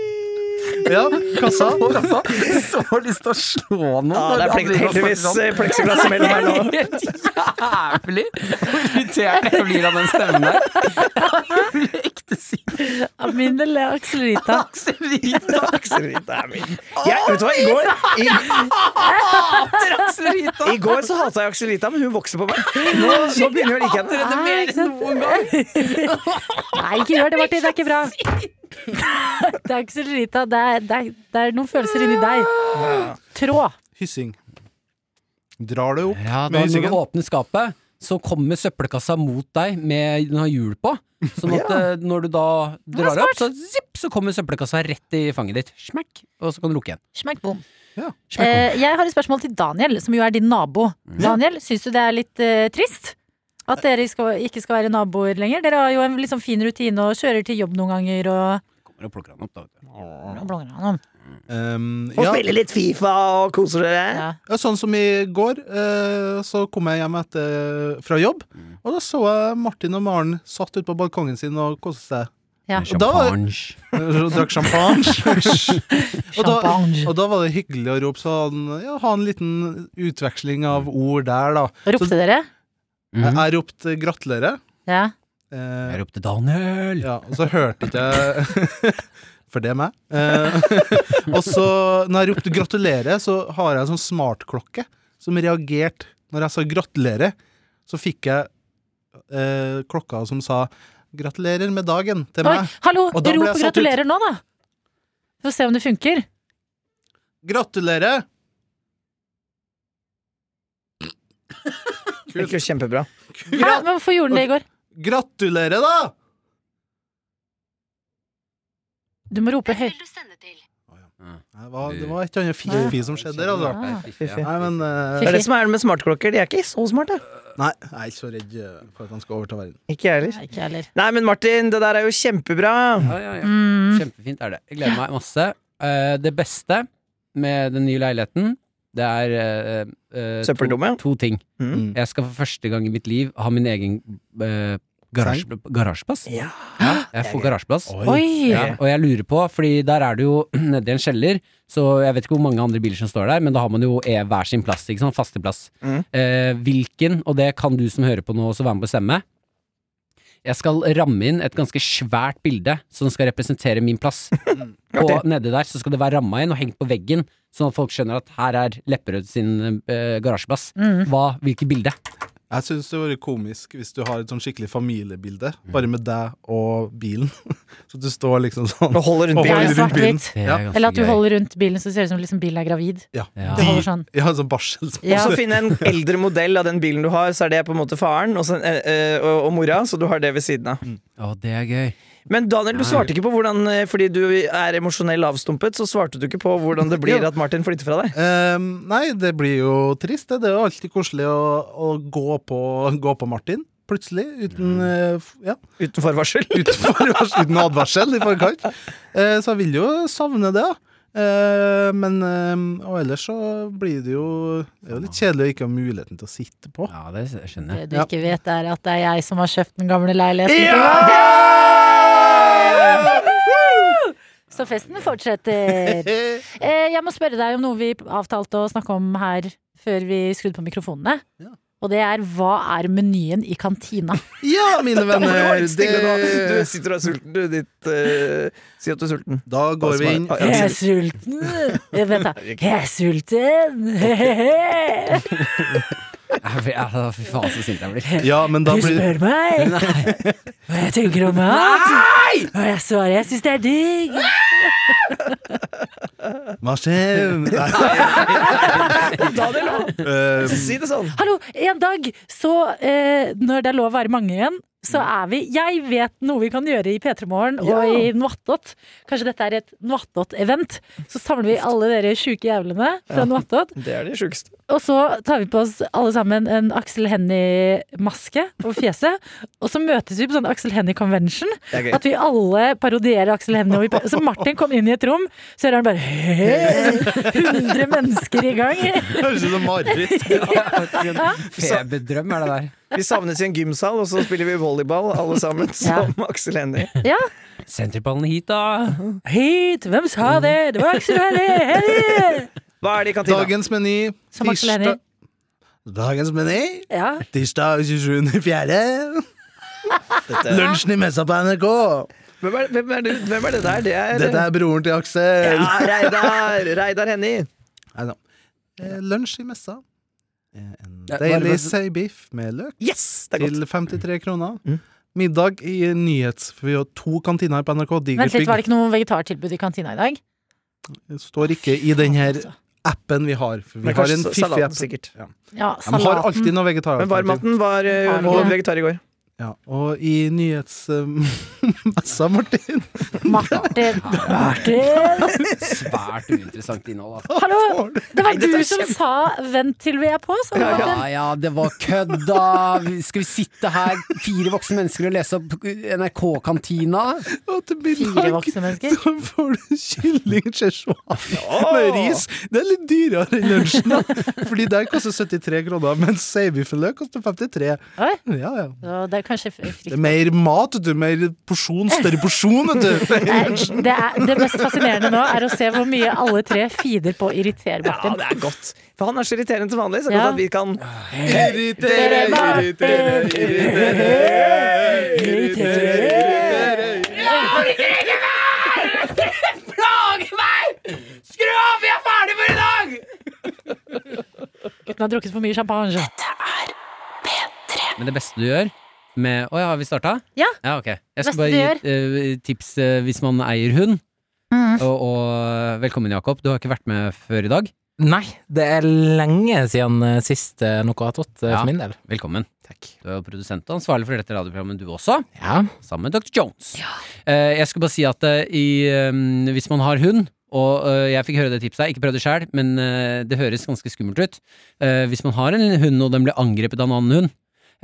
Speaker 5: Ja, kassa.
Speaker 2: kassa, så har du lyst til å slå noen.
Speaker 3: Ja, det er plek heldigvis eh, plexiglass mellom her nå.
Speaker 2: Helt jævlig hvor irritert jeg blir av den stemmen der. Jeg blir ekte sint.
Speaker 4: Amin eller Aksel Rita.
Speaker 2: Aksel Rita.
Speaker 3: Aksel Rita er min. Jeg, vet du hva, i går, i,
Speaker 2: Hater Aksel Rita.
Speaker 3: i går så hata jeg Aksel Rita, men hun vokser på meg. Nå, nå begynner jeg å like henne.
Speaker 2: Dette mer enn noen gang.
Speaker 4: Ah, Nei, ikke gjør det, Martin. Det er ikke bra. Det er Aksel Rita. Det er, det er, det er noen følelser inni deg. Tråd.
Speaker 5: Hyssing. Drar det opp
Speaker 2: Ja, da
Speaker 5: med
Speaker 2: når du
Speaker 5: hyssingen.
Speaker 2: åpner skapet, så kommer søppelkassa mot deg med den har hjul på. Sånn at eh, når du da drar opp, så, zipp, så kommer søppelkassa rett i fanget ditt. Smekk, og så kan du lukke igjen.
Speaker 4: Smekk bom.
Speaker 5: Ja.
Speaker 2: Smekk.
Speaker 4: Eh, jeg har et spørsmål til Daniel, som jo er din nabo. Daniel, syns du det er litt eh, trist? At dere skal, ikke skal være naboer lenger? Dere har jo en litt sånn fin rutine og kjører til jobb noen ganger og
Speaker 2: Kommer og plukker han opp, da. vet du.
Speaker 4: og blander han om.
Speaker 5: Um,
Speaker 3: Og
Speaker 5: ja.
Speaker 3: spiller litt Fifa og koser dere.
Speaker 4: Ja.
Speaker 5: Ja, sånn som i går, eh, så kom jeg hjem etter, eh, fra jobb,
Speaker 3: Mm.
Speaker 5: og da så jeg Martin og Maren satt ute på balkongen sin og koste seg.
Speaker 4: Ja.
Speaker 2: Med
Speaker 5: Og da-
Speaker 2: champagne.
Speaker 5: Og Drakk champagne. og, da,
Speaker 4: Champagne.
Speaker 5: og da var det hyggelig å rope sånn Ja, ha en liten utveksling av ord der, da.
Speaker 4: Ropte dere?
Speaker 5: Jeg,
Speaker 2: Mhm.
Speaker 5: jeg ropte 'gratulerer'.
Speaker 4: Ja.
Speaker 5: Eh,
Speaker 2: Jeg ropte 'Daniel'.
Speaker 5: ja, og så hørte ikke jeg For det er meg. Eh, og så, når jeg ropte 'gratulerer', så har jeg en sånn smartklokke som reagerte når jeg sa 'gratulerer'. Så fikk jeg eh, klokka som sa 'gratulerer med dagen' til
Speaker 4: Oi,
Speaker 5: meg.
Speaker 4: hallo!
Speaker 5: Og
Speaker 4: Rop
Speaker 5: da ble jeg satt ut.
Speaker 4: gratulerer nå, da! Få se om det funker.
Speaker 5: Gratulerer!
Speaker 3: Det gikk jo kjempebra.
Speaker 4: Hæ? Men Hvorfor gjorde den det i går?
Speaker 5: Gratulerer, da!
Speaker 4: Du må rope høyt.
Speaker 5: Det var, det var et eller annet fiffi som skjedde der, altså.
Speaker 4: Ah.
Speaker 5: Nei, men eh,
Speaker 3: Det er det som er med smartklokker. De er ikke så smarte.
Speaker 5: Nei, jeg er ikke så redd eh, for at han skal overta verden.
Speaker 3: Ikke jeg heller.
Speaker 4: Nei, ikke jeg heller.
Speaker 3: Nei, men Martin, det der er jo kjempebra.
Speaker 2: Ja, ja, ja.
Speaker 4: Mm.
Speaker 2: Kjempefint er det. Jeg gleder meg masse. Eh, det beste med den nye leiligheten, det er eh, eh,
Speaker 3: Søppeldumme.
Speaker 2: To, to ting.
Speaker 3: Mm.
Speaker 2: Jeg skal for første gang i mitt liv ha min egen eh, garasje, garasjeplass.
Speaker 3: Ja.
Speaker 2: Jeg får garasjeplass.
Speaker 4: Oi!
Speaker 2: Ja, og jeg lurer på, fordi der er det jo nedi en kjeller, så jeg vet ikke hvor mange andre biler som står der, men da har man jo eh, hver sin plass, ikke sant, fasteplass.
Speaker 3: Mm.
Speaker 2: Eh, hvilken, og det kan du som hører på nå også være med på å stemme, jeg skal ramme inn et ganske svært bilde som skal representere min plass. og
Speaker 3: Artig.
Speaker 2: nedi der så skal det være ramma inn og hengt på veggen, sånn at folk skjønner at her er Lepperød sin eh, garasjeplass. Hva, hvilket bilde?
Speaker 5: Jeg syns det hadde vært komisk hvis du har et sånn skikkelig familiebilde, bare med deg og bilen. Så du står liksom sånn
Speaker 3: Og holder rundt
Speaker 5: Og
Speaker 4: Ja,
Speaker 5: holder
Speaker 3: bilen.
Speaker 5: rundt bilen.
Speaker 4: Svart-hvitt.
Speaker 2: Det er
Speaker 5: Ja.
Speaker 2: ganske
Speaker 4: Eller at du
Speaker 2: gøy.
Speaker 4: holder rundt bilen så det ser ut som liksom bilen er gravid.
Speaker 5: Ja.
Speaker 2: Ja.
Speaker 4: Du holder sånn.
Speaker 5: Ja, sånn
Speaker 4: Ja.
Speaker 5: barselspose.
Speaker 3: Og så finne en eldre modell av den bilen du har, så er det på en måte faren og, så, eh, eh, og, og mora, så du har det ved siden av.
Speaker 2: Å, det er gøy.
Speaker 3: Men Daniel, du svarte ikke på hvordan eh, Fordi du er emosjonell avstumpet, så svarte du ikke på hvordan det blir
Speaker 5: Ja.
Speaker 3: at Martin flytter fra deg.
Speaker 5: Ehm, nei, det blir jo trist. Det Det er jo alltid koselig å, å gå, på, gå på Martin. Plutselig, uten, eh, f- ja,
Speaker 3: Uten forvarsel.
Speaker 5: uten, forvars- uten advarsel i forkant. Eh, så jeg vil jo savne det, da. Eh, men eh, Og ellers så blir det jo Det er jo litt kjedelig å ikke ha muligheten til å sitte på.
Speaker 2: Ja, det skjønner jeg.
Speaker 4: Det du
Speaker 5: Ja.
Speaker 4: ikke vet, er at det er jeg som har kjøpt den gamle leiligheten. til deg. Så festen fortsetter. Eh, Jeg må spørre deg om noe vi avtalte å snakke om her før vi skrudde på mikrofonene.
Speaker 5: Ja.
Speaker 4: Og det er hva er menyen i kantina?
Speaker 5: Ja, mine venner,
Speaker 3: Hold stille nå. Du
Speaker 5: det
Speaker 3: sitter og er sulten, du. Ditt, eh, si at du er sulten.
Speaker 5: Da går vi inn.
Speaker 3: Ja,
Speaker 4: Jeg
Speaker 3: ja,
Speaker 4: er sulten! Eh, Vent, da. Jeg er sulten! Hehehe.
Speaker 2: Ja, fy faen så sint jeg blir.
Speaker 5: Ja, men da
Speaker 4: Du
Speaker 5: blir
Speaker 4: spør meg hva jeg tenker om mat, og jeg svarer jeg syns det er digg.
Speaker 5: Hva skjer? Nei.
Speaker 3: Daniel,
Speaker 5: Eh,
Speaker 3: si det sånn.
Speaker 4: eh, Hallo, en dag så eh, Når det er lov å være mange igjen, så
Speaker 5: Mm.
Speaker 4: er vi Jeg vet noe vi kan gjøre i P3 Morgen og i Noattot. Kanskje dette er et Noattot-event. Så samler vi alle dere sjuke jævlene fra Noattot.
Speaker 3: Det er de sjukeste.
Speaker 4: Og så tar vi på oss alle sammen en Aksel Hennie-maske på fjeset. Og så møtes vi på sånn Aksel Hennie-convention.
Speaker 3: Det er gøy.
Speaker 4: At vi alle parodierer Aksel Hennie. og vi par- Så Martin kom inn i et rom, så hører han bare «Hei!» 100 mennesker i gang.
Speaker 5: Høres ut som mareritt.
Speaker 2: Feberdrøm er det der.
Speaker 3: Vi savnes i en gymsal, og så spiller vi volleyball alle sammen, som Aksel Hennie.
Speaker 4: Ja.
Speaker 2: Senterballen hit, da.
Speaker 4: Hit, hvem sa det? Det var Aksel Hennie! Hennie!
Speaker 3: Hva er det i kantina?
Speaker 5: Dagens meny
Speaker 4: Som Aksel Hennie.
Speaker 5: Dagens meny
Speaker 4: Ja.
Speaker 5: tirsdag 27.4.
Speaker 3: Dette-
Speaker 5: Lunsjen i messa på NRK.
Speaker 3: Hvem er, hvem, er du, hvem er det der? Det er
Speaker 5: Dette er broren til Aksel.
Speaker 3: ja, Reidar, Reidar Hennie.
Speaker 5: Neida. Eh, Lunsj i messa. Eh, En
Speaker 2: Ja, bare-
Speaker 5: deilig
Speaker 2: bare-
Speaker 5: seibiff med løk
Speaker 3: Yes! Det er godt.
Speaker 5: til 53 kroner.
Speaker 3: Mm.
Speaker 5: Middag i nyhets... For vi har to kantiner her på NRK.
Speaker 4: Vent litt,
Speaker 5: Digert
Speaker 4: var
Speaker 5: bygg.
Speaker 4: det ikke noe vegetartilbud i kantina i dag?
Speaker 5: Det står ikke i den her
Speaker 4: Altså.
Speaker 5: appen vi har. For vi
Speaker 3: Men
Speaker 5: har
Speaker 3: kanskje
Speaker 5: en
Speaker 3: sa-
Speaker 5: fiffig
Speaker 3: salaten,
Speaker 5: app.
Speaker 3: sikkert.
Speaker 4: Ja,
Speaker 5: Ja, men har alltid
Speaker 4: salaten.
Speaker 5: noe
Speaker 3: Men
Speaker 5: vegetaralternativ.
Speaker 3: varmten var
Speaker 4: Ja,
Speaker 3: uh,
Speaker 4: men-
Speaker 3: vegetar i går.
Speaker 5: Ja, og i nyhetsmessa, Martin
Speaker 4: Martin! Martin!
Speaker 2: Svært uinteressant innhold, altså.
Speaker 4: Hallo! Det var
Speaker 3: dette
Speaker 4: du
Speaker 3: er
Speaker 4: som
Speaker 3: kjempe-
Speaker 4: sa 'vent til vi er på', sa du, Martin.
Speaker 2: Ja ja, det var kødda! Skal vi sitte her, fire voksne mennesker, og lese opp NRK-kantina?
Speaker 5: Og til
Speaker 4: Fire
Speaker 5: middag
Speaker 4: voksne mennesker.
Speaker 5: så får du kylling cheshwari med ris. Det er litt dyrere enn lunsjen, da. Fordi der koster 73 kroner, mens seibiffen løk koster 53.
Speaker 4: Oi,
Speaker 5: Ja, ja.
Speaker 4: så det er kanskje
Speaker 5: Det
Speaker 4: frykt.
Speaker 5: er mer mat, vet du. Mer porsjon. Større porsjon, vet du.
Speaker 4: Nei, Det, er, det mest fascinerende nå er å se hvor mye alle tre feeder på å irritere
Speaker 3: Ja,
Speaker 4: Martin.
Speaker 3: det er godt. For han er så irriterende som vanlig. Så
Speaker 4: Ja.
Speaker 3: godt at vi kan
Speaker 5: Irritere,
Speaker 4: irritere,
Speaker 5: irritere,
Speaker 4: Gutten har drukket for mye champagne.
Speaker 2: Men det beste du gjør med Å ja, har vi starta?
Speaker 4: Ja.
Speaker 2: ja ok. Jeg
Speaker 4: Beste
Speaker 2: skal bare
Speaker 4: du
Speaker 2: gi et eh, tips eh, hvis man eier hund.
Speaker 4: Mm.
Speaker 2: Og, og eh, velkommen, Jakob. Du har ikke vært med før i dag.
Speaker 6: Nei, det er lenge siden eh, sist eh, noe har tatt, eh,
Speaker 2: Ja.
Speaker 6: for min del.
Speaker 2: Velkommen.
Speaker 6: Takk.
Speaker 2: Du er jo produsent og ansvarlig for dette radioprogrammet, du også.
Speaker 6: Ja.
Speaker 2: Sammen med Dr. Jones. Eh, jeg skulle bare si at eh, i, eh, hvis man har hund og eh, jeg fikk høre det tipset, her, ikke prøv det sjøl, men eh, det høres ganske skummelt ut. Eh, hvis man har en hund og den blir angrepet av en annen hund,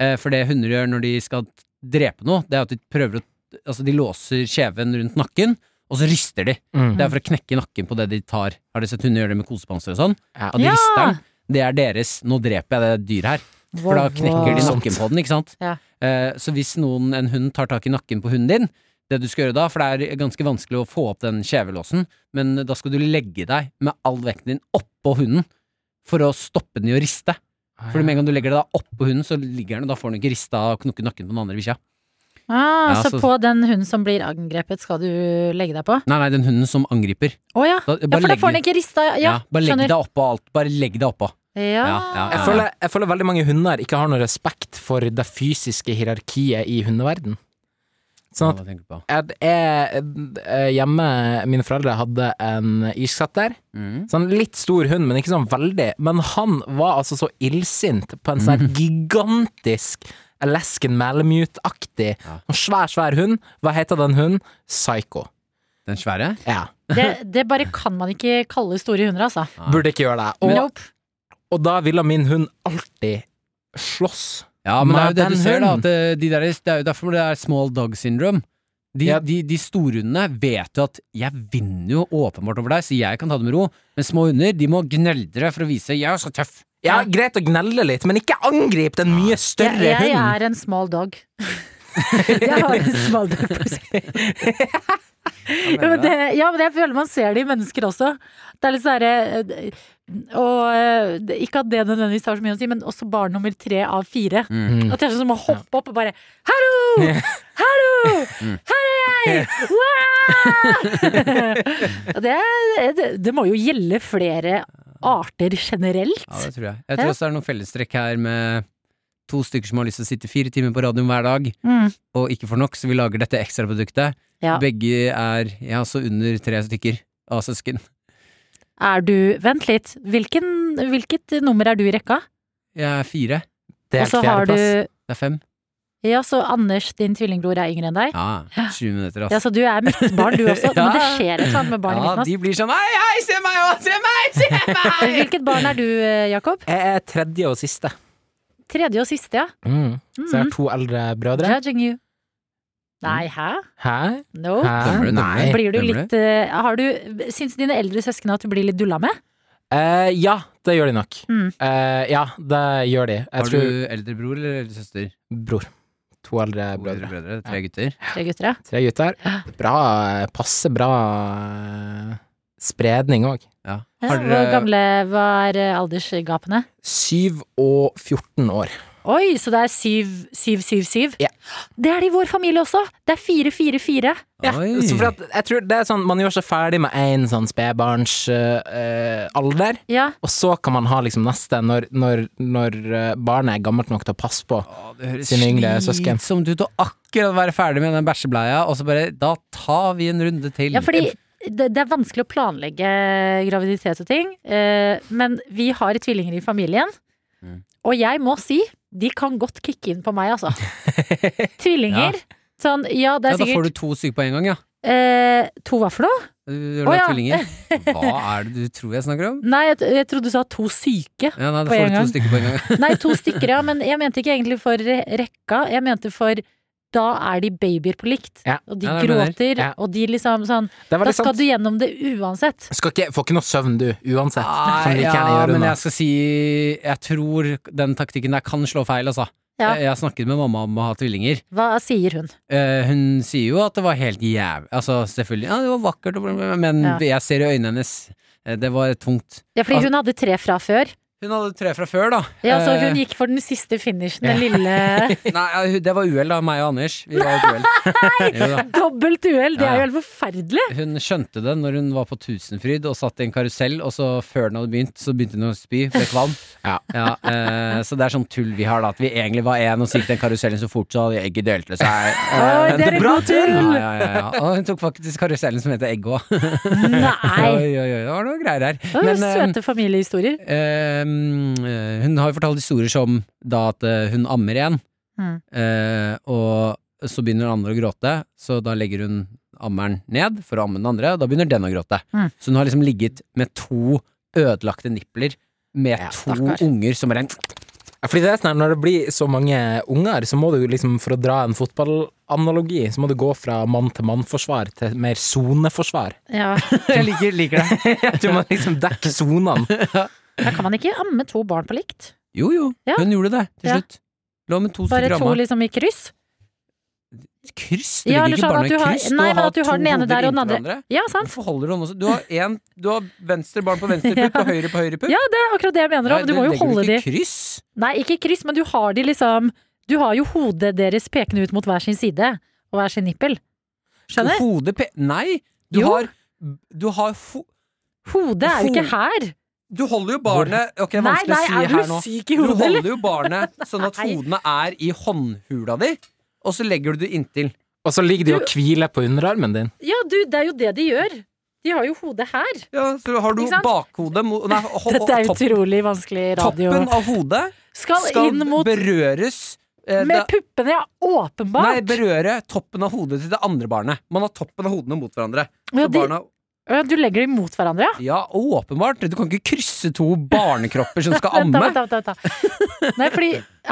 Speaker 2: eh, for det hunder gjør når de skal drepe noe, det er at de prøver å Altså, de låser kjeven rundt nakken, og så rister de.
Speaker 6: Mm.
Speaker 2: Det er for å knekke nakken på det de tar. Har dere sett hunder gjøre det med kosepanser og sånn?
Speaker 6: Ja.
Speaker 2: At de
Speaker 4: Ja!
Speaker 2: rister den. Det er deres. Nå dreper jeg det dyret her. For da knekker de nakken på den, ikke sant?
Speaker 4: Ja.
Speaker 2: Eh, så hvis noen, en hund tar tak i nakken på hunden din, det du skal gjøre da, for det er ganske vanskelig å få opp den kjevelåsen, men da skal du legge deg med all vekten din oppå hunden for å stoppe den i å riste.
Speaker 4: Ah,
Speaker 2: For med en gang du legger deg da oppå hunden, så ligger den, og da får den ikke rista og knukket nakken på den andre bikkja.
Speaker 4: Ah,
Speaker 2: Ja,
Speaker 4: så
Speaker 2: så-
Speaker 4: på den hunden som blir angrepet, skal du legge deg på?
Speaker 2: Nei, nei, den hunden som angriper.
Speaker 4: Å ja.
Speaker 2: Da,
Speaker 4: ja! For da
Speaker 2: legg-
Speaker 4: får den ikke rista. Ja,
Speaker 2: ja, bare legg
Speaker 4: skjønner.
Speaker 2: deg oppå alt. Bare legg deg oppå. Ja, ja,
Speaker 4: Ja.
Speaker 2: ja.
Speaker 6: Jeg føler, jeg føler veldig mange hunder ikke har noe respekt for det fysiske hierarkiet i hundeverden. Sånn at
Speaker 2: Hva tenker du på?
Speaker 6: jeg, jeg, eh, hjemme Mine foreldre hadde en irsksetter.
Speaker 2: Mm.
Speaker 6: Sånn litt stor hund, men ikke sånn veldig. Men han var altså så illsint på en sånn her gigantisk Alaskan Malamute-aktig.
Speaker 2: Ja.
Speaker 6: En svær, svær hund. Hva heter den hunden? Psycho.
Speaker 2: Den svære?
Speaker 6: Ja.
Speaker 4: Det, det bare kan man ikke kalle store hunder, altså.
Speaker 2: Nei.
Speaker 6: Burde ikke gjøre det. Og,
Speaker 4: Nope.
Speaker 6: og da ville min hund alltid slåss.
Speaker 2: Ja, men det er jo
Speaker 6: Med
Speaker 2: det du
Speaker 6: den
Speaker 2: ser, da.
Speaker 6: hunden.
Speaker 2: At eh, de der, det er jo derfor det er small dog syndrome. De,
Speaker 6: Ja.
Speaker 2: de, de storhundene vet jo at 'jeg vinner jo åpenbart over deg, så jeg kan ta det med ro', men små hunder de må gneldre for å vise 'jeg er så tøff'.
Speaker 6: Ja, greit å gnelle litt, men ikke angrip den mye
Speaker 4: Jeg,
Speaker 6: større
Speaker 4: jeg
Speaker 6: hunden.
Speaker 4: er en small dog. jeg har en small dog på seg. ja, men det, ja, men jeg føler man ser det i mennesker også. Det er litt sånn herre Og eh, det- ikke at det nødvendigvis har så mye å si, men også barn nummer tre av fire.
Speaker 6: Mm.
Speaker 4: At det er sånn som å hoppe opp og bare 'Hallo! Hallo! Her er jeg! Wow!» Og det, det, det må jo gjelde flere arter generelt.
Speaker 2: Ja, det tror jeg. Jeg
Speaker 4: Ja.
Speaker 2: tror også det er noen fellestrekk her med to stykker som har lyst til å sitte fire timer på radioen hver dag,
Speaker 4: Mm.
Speaker 2: og ikke får nok, så vi lager dette ekstraproduktet.
Speaker 4: Ja.
Speaker 2: Begge er ja, så under tre stykker av søsken.
Speaker 4: Er du Vent litt. Hvilken, hvilket nummer er du i rekka?
Speaker 2: Jeg er fire.
Speaker 6: Det
Speaker 4: Og
Speaker 6: er
Speaker 4: så har du
Speaker 6: fjerdeplass.
Speaker 2: Det er fem.
Speaker 4: Ja, så Anders, din tvillingbror, er yngre enn deg?
Speaker 2: Ja, 20 minutter, altså.
Speaker 4: Ja,
Speaker 2: ass.
Speaker 4: så du er mitt barn, du også? Men det
Speaker 2: Ja.
Speaker 4: skjer et eller annet med barnet
Speaker 2: Ja,
Speaker 4: mitt nå.
Speaker 2: de blir sånn Hei, hei, se meg òg! Se meg! Se meg!
Speaker 4: Hvilket barn er du, eh, Jakob?
Speaker 6: Jeg er tredje og siste.
Speaker 4: Tredje og siste, ja.
Speaker 6: Mm.
Speaker 4: Mhm.
Speaker 6: Så jeg har to eldre brødre.
Speaker 4: Judging you. Nei, hæ?
Speaker 6: Hæ?
Speaker 4: No.
Speaker 6: Hæ?
Speaker 2: Dømmer du, dømmer
Speaker 6: Nei.
Speaker 2: du?
Speaker 4: Blir du
Speaker 2: Stemmer
Speaker 4: litt eh, har du, Syns dine eldre søsken at du blir litt dulla med?
Speaker 6: Eh, ja, det gjør de nok.
Speaker 4: Mm.
Speaker 6: Eh, ja, det gjør de. Jeg
Speaker 2: Har
Speaker 6: tror
Speaker 2: du eldre bror eller eldre søster?
Speaker 6: Bror. To eldre
Speaker 2: To eldre
Speaker 6: brødre.
Speaker 2: brødre, tre gutter.
Speaker 4: Tre gutter, ja.
Speaker 6: Tre gutter. Bra, passe bra eh, spredning òg.
Speaker 4: Ja,
Speaker 2: Har
Speaker 4: Eh, Hvor
Speaker 2: dere-
Speaker 4: gamle var eh, aldersgapene?
Speaker 6: Syv og 14 år.
Speaker 4: Oi, så det er syv, syv, syv, syv?
Speaker 6: Ja.
Speaker 4: Det er det i vår familie også! Det er fire, fire, fire.
Speaker 6: Ja,
Speaker 2: Oi.
Speaker 6: så for at, jeg tror det er sånn, Man gjør seg ferdig med én sånn spedbarns eh, eh, alder,
Speaker 4: Ja.
Speaker 6: og så kan man ha liksom neste når, når, når eh, barnet er gammelt nok til å passe på.
Speaker 2: Å, det høres
Speaker 6: Sine yngre søsken.
Speaker 2: slitsomt ut å akkurat være ferdig med den bæsjebleia, og så bare Da tar vi en runde til.
Speaker 4: Ja, fordi det, det er vanskelig å planlegge graviditet og ting. eh, men vi har tvillinger i familien.
Speaker 2: Mm.
Speaker 4: Og jeg må si, de kan godt kicke inn på meg, altså. tvillinger. Sånn, ja, det
Speaker 2: ja,
Speaker 4: er
Speaker 2: da får
Speaker 4: sikkert
Speaker 2: du to stykker på en gang, ja.
Speaker 4: eh, To hva for noe?
Speaker 2: Du gjør
Speaker 4: Å,
Speaker 2: da
Speaker 4: ja.
Speaker 2: tvillinger. Hva er det du tror jeg snakker om?
Speaker 4: Nei, jeg, jeg trodde du sa to syke.
Speaker 2: Ja, nei, da
Speaker 4: På
Speaker 2: får
Speaker 4: en
Speaker 2: du to
Speaker 4: gang.
Speaker 2: stykker på en gang.
Speaker 4: Nei, to stykker, ja. Men jeg mente ikke egentlig for re- rekka. Jeg mente for da er de babyer på likt.
Speaker 6: Ja.
Speaker 4: Og de
Speaker 2: Ja, det er det
Speaker 4: gråter,
Speaker 6: Ja.
Speaker 4: og de liksom sånn
Speaker 6: Det er
Speaker 4: Da
Speaker 6: veldig
Speaker 4: skal
Speaker 6: sant.
Speaker 4: du gjennom det uansett.
Speaker 6: Skal ikke, får ikke noe søvn, du, uansett. Kan like
Speaker 2: Ah, ja,
Speaker 6: gjerne gjøre
Speaker 2: men
Speaker 6: noe.
Speaker 2: jeg skal si Jeg tror den taktikken der kan slå feil, altså.
Speaker 4: Ja.
Speaker 2: Jeg har snakket med mamma om å ha tvillinger.
Speaker 4: Hva sier hun?
Speaker 2: Eh, hun sier jo at det var helt jævlig Altså, selvfølgelig, ja, det var vakkert, og bla, bla, bla, men
Speaker 4: Ja.
Speaker 2: jeg ser i øynene hennes eh, Det var tungt.
Speaker 4: Ja, fordi hun hadde tre fra før.
Speaker 2: Hun hadde tre fra før, da.
Speaker 4: Ja, så
Speaker 2: Eh,
Speaker 4: hun gikk for den siste finishen, den lille
Speaker 2: Nei, ja, hun- det var uhell, da. Meg og Anders. Vi var et uhell. Jo da.
Speaker 4: dobbelt uhell. Det
Speaker 2: Ja, ja.
Speaker 4: er jo helt forferdelig.
Speaker 2: Hun skjønte det når hun var på Tusenfryd og satt i en karusell, og så før den hadde begynt, så begynte hun å spy, ble kvalm.
Speaker 6: Ja.
Speaker 2: eh, så det er sånn tull vi har, da. At vi egentlig var én, og så gikk den karusellen så fort, så hadde egget delte seg.
Speaker 4: Oi,
Speaker 2: Eh,
Speaker 4: det er bra tull!
Speaker 2: Ja, ja, ja, ja. Og hun tok faktisk karusellen som heter Egg òg.
Speaker 4: Nei!
Speaker 2: Oi, oi, oi, det var noe greier her.
Speaker 4: Det var jo
Speaker 2: eh,
Speaker 4: søte familiehistorier.
Speaker 2: Eh, mm, hun har jo fortalt historier som da at eh, hun ammer igjen,
Speaker 4: Mm.
Speaker 2: eh, og så begynner den andre å gråte, så da legger hun ammeren ned for å amme den andre, og da begynner den å gråte.
Speaker 4: Mm.
Speaker 2: Så hun har liksom ligget med to ødelagte nipler med
Speaker 6: Ja,
Speaker 2: to
Speaker 4: stakkar.
Speaker 2: unger som bare
Speaker 6: Ja, Fordi det er sånn her, Når det blir så mange unger, så må du liksom, for å dra en fotballanalogi, så må du gå fra mann-til-mann-forsvar til mer soneforsvar.
Speaker 4: Ja.
Speaker 2: Jeg liker, det.
Speaker 6: Du må liksom dekke sonene.
Speaker 4: Da kan man ikke amme to barn på likt.
Speaker 2: Jo, jo,
Speaker 4: Ja.
Speaker 2: hun gjorde det til
Speaker 4: Ja.
Speaker 2: slutt. Lå med to
Speaker 4: Bare
Speaker 2: stykker
Speaker 4: to
Speaker 2: amma.
Speaker 4: liksom i kryss.
Speaker 2: Kryss? Du
Speaker 4: Ja,
Speaker 2: ligger ikke bare
Speaker 4: eller sånn at
Speaker 2: med
Speaker 4: du har-
Speaker 2: kryss,
Speaker 4: Nei, men
Speaker 2: har
Speaker 4: at du
Speaker 2: to
Speaker 4: har den ene
Speaker 2: hoder
Speaker 4: der og den
Speaker 2: inntil
Speaker 4: andre.
Speaker 2: hverandre.
Speaker 4: Ja, sant?
Speaker 2: Hvorfor holder du om også? Du har, en, du har venstre barn på venstre pupp og høyre på høyre pupp.
Speaker 4: Ja, det er akkurat det jeg mener om. Du må jo holde de
Speaker 2: ikke kryss.
Speaker 4: Nei, ikke kryss, men du har de liksom Du har jo hodet deres pekende ut mot hver sin side og hver sin nippel. Skjønner?
Speaker 2: Hodet pe... Nei! Du
Speaker 4: Jo.
Speaker 2: har Du har ho...
Speaker 4: Hodet er jo ikke her.
Speaker 2: Du holder jo barnet Ok, det er
Speaker 4: Nei,
Speaker 2: vanskelig
Speaker 4: nei,
Speaker 2: å si her
Speaker 4: er du
Speaker 2: nå.
Speaker 4: syk i
Speaker 2: Du
Speaker 4: hodet, eller?
Speaker 2: holder jo barnet sånn at
Speaker 4: Nei.
Speaker 2: hodene er i håndhula di, og så legger du det inntil.
Speaker 6: Og så ligger de og hviler på underarmen din.
Speaker 4: Ja, du, det er jo det de gjør. De har jo hodet her.
Speaker 2: Ja, så har du
Speaker 4: Ikke sant?
Speaker 2: bakhodet mot Nei, ho- ho-
Speaker 4: Dette er
Speaker 2: topp-
Speaker 4: utrolig vanskelig radio.
Speaker 2: toppen av hodet
Speaker 4: Skal,
Speaker 2: skal
Speaker 4: inn mot
Speaker 2: berøres eh,
Speaker 4: Med
Speaker 2: det-
Speaker 4: puppene, ja. Åpenbart.
Speaker 2: Nei, berøre toppen av hodet til det andre barnet. Man har toppen av hodene mot hverandre. Så
Speaker 4: Ja, de-
Speaker 2: barna
Speaker 4: Ja, Du legger dem mot hverandre, ja?
Speaker 2: Ja, åpenbart. Du kan ikke krysse to barnekropper som skal
Speaker 4: Vent, da,
Speaker 2: amme.
Speaker 4: vent, da, vent, da, vent, da. Nei, fordi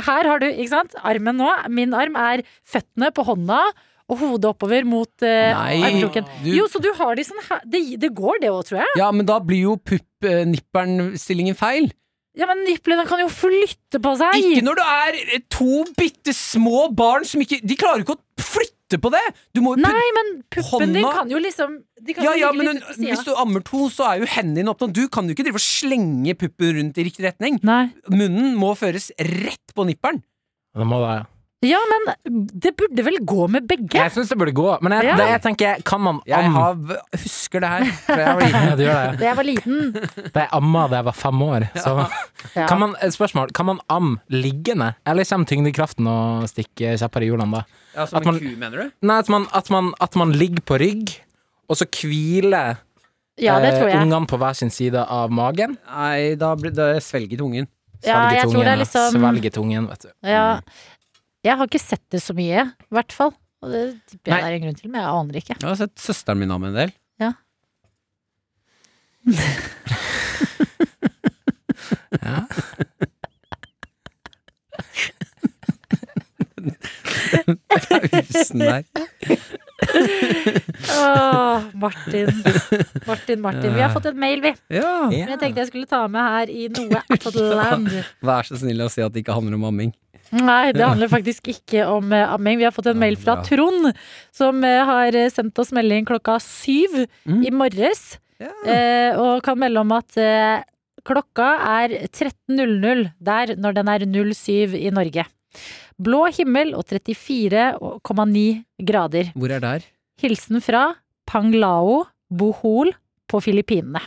Speaker 4: her har du, ikke sant, armen nå. Min arm er føttene på hånda og hodet oppover mot eh,
Speaker 2: Nei,
Speaker 4: armkroken.
Speaker 2: du-
Speaker 4: Jo, så du har de sånn her Det, det går det òg, tror jeg.
Speaker 2: Ja, men da blir jo pupp-nipperen-stillingen feil.
Speaker 4: Ja, men niplene kan jo flytte på seg.
Speaker 2: Ikke når du er eh, to bitte små barn som ikke De klarer jo ikke å flytte på det! Du må jo
Speaker 4: Nei, men puppen din
Speaker 2: Hånda-
Speaker 4: kan jo liksom de kan
Speaker 2: Ja,
Speaker 4: jo
Speaker 2: ja,
Speaker 4: ligge
Speaker 2: men hun,
Speaker 4: litt ut på
Speaker 2: hvis
Speaker 4: siden.
Speaker 2: du ammer to, så er jo hendene dine opptatt. Du kan jo ikke drive og slenge puppen rundt i riktig retning.
Speaker 4: Nei.
Speaker 2: Munnen må føres rett på nipperen.
Speaker 6: Det må da, ja.
Speaker 4: Ja, men det burde vel gå med begge?
Speaker 6: Jeg syns det burde gå, men jeg,
Speaker 4: Ja.
Speaker 6: det, jeg tenker, kan man
Speaker 2: Jeg
Speaker 6: amme?
Speaker 2: har, husker det her. fra jeg var liten.
Speaker 6: Ja, du gjør det.
Speaker 4: Da jeg var liten.
Speaker 6: Da jeg amma da jeg var fem år, så
Speaker 4: Ja.
Speaker 6: kan man, et Spørsmål. Kan man amme liggende, eller kommer tyngdekraften og stikker kjepper i hjulene da?
Speaker 2: Ja,
Speaker 6: At
Speaker 2: som
Speaker 6: man-
Speaker 2: en ku, mener du?
Speaker 6: Nei, at man, at man, at man ligger på rygg, og så hviler
Speaker 4: ja, det tror
Speaker 6: eh,
Speaker 4: jeg.
Speaker 6: ungene på hver sin side av magen.
Speaker 2: Nei, da, blir- da svelger tungen.
Speaker 4: Ja, jeg tror det er
Speaker 6: Svelgetungen,
Speaker 4: liksom
Speaker 6: Svelgetungen, vet du.
Speaker 4: Ja. Jeg har ikke sett det så mye, i hvert fall. Og det tipper jeg
Speaker 2: Nei.
Speaker 4: det er en grunn til, men jeg aner ikke.
Speaker 2: Jeg har sett søsteren min ha med en del.
Speaker 6: Ja.
Speaker 2: Pausen der.
Speaker 4: Åh, Martin. Martin, Martin. Vi har fått en mail, vi.
Speaker 2: Ja.
Speaker 4: Som jeg tenkte jeg skulle ta med her i noe Atland.
Speaker 2: Vær så snill å si at det ikke handler om amming.
Speaker 4: Nei, det handler faktisk ikke om eh, amming. Vi har fått en
Speaker 2: Ja,
Speaker 4: mail fra
Speaker 2: bra.
Speaker 4: Trond, som eh, har eh, sendt oss melding klokka syv
Speaker 2: Mm.
Speaker 4: i morges. eh, Og kan melde om at eh, klokka er 13.00 der når den er 07 i Norge. Blå himmel og 34,9 grader.
Speaker 2: Hvor er der?
Speaker 4: Hilsen fra Panglao Bohol på Filippinene.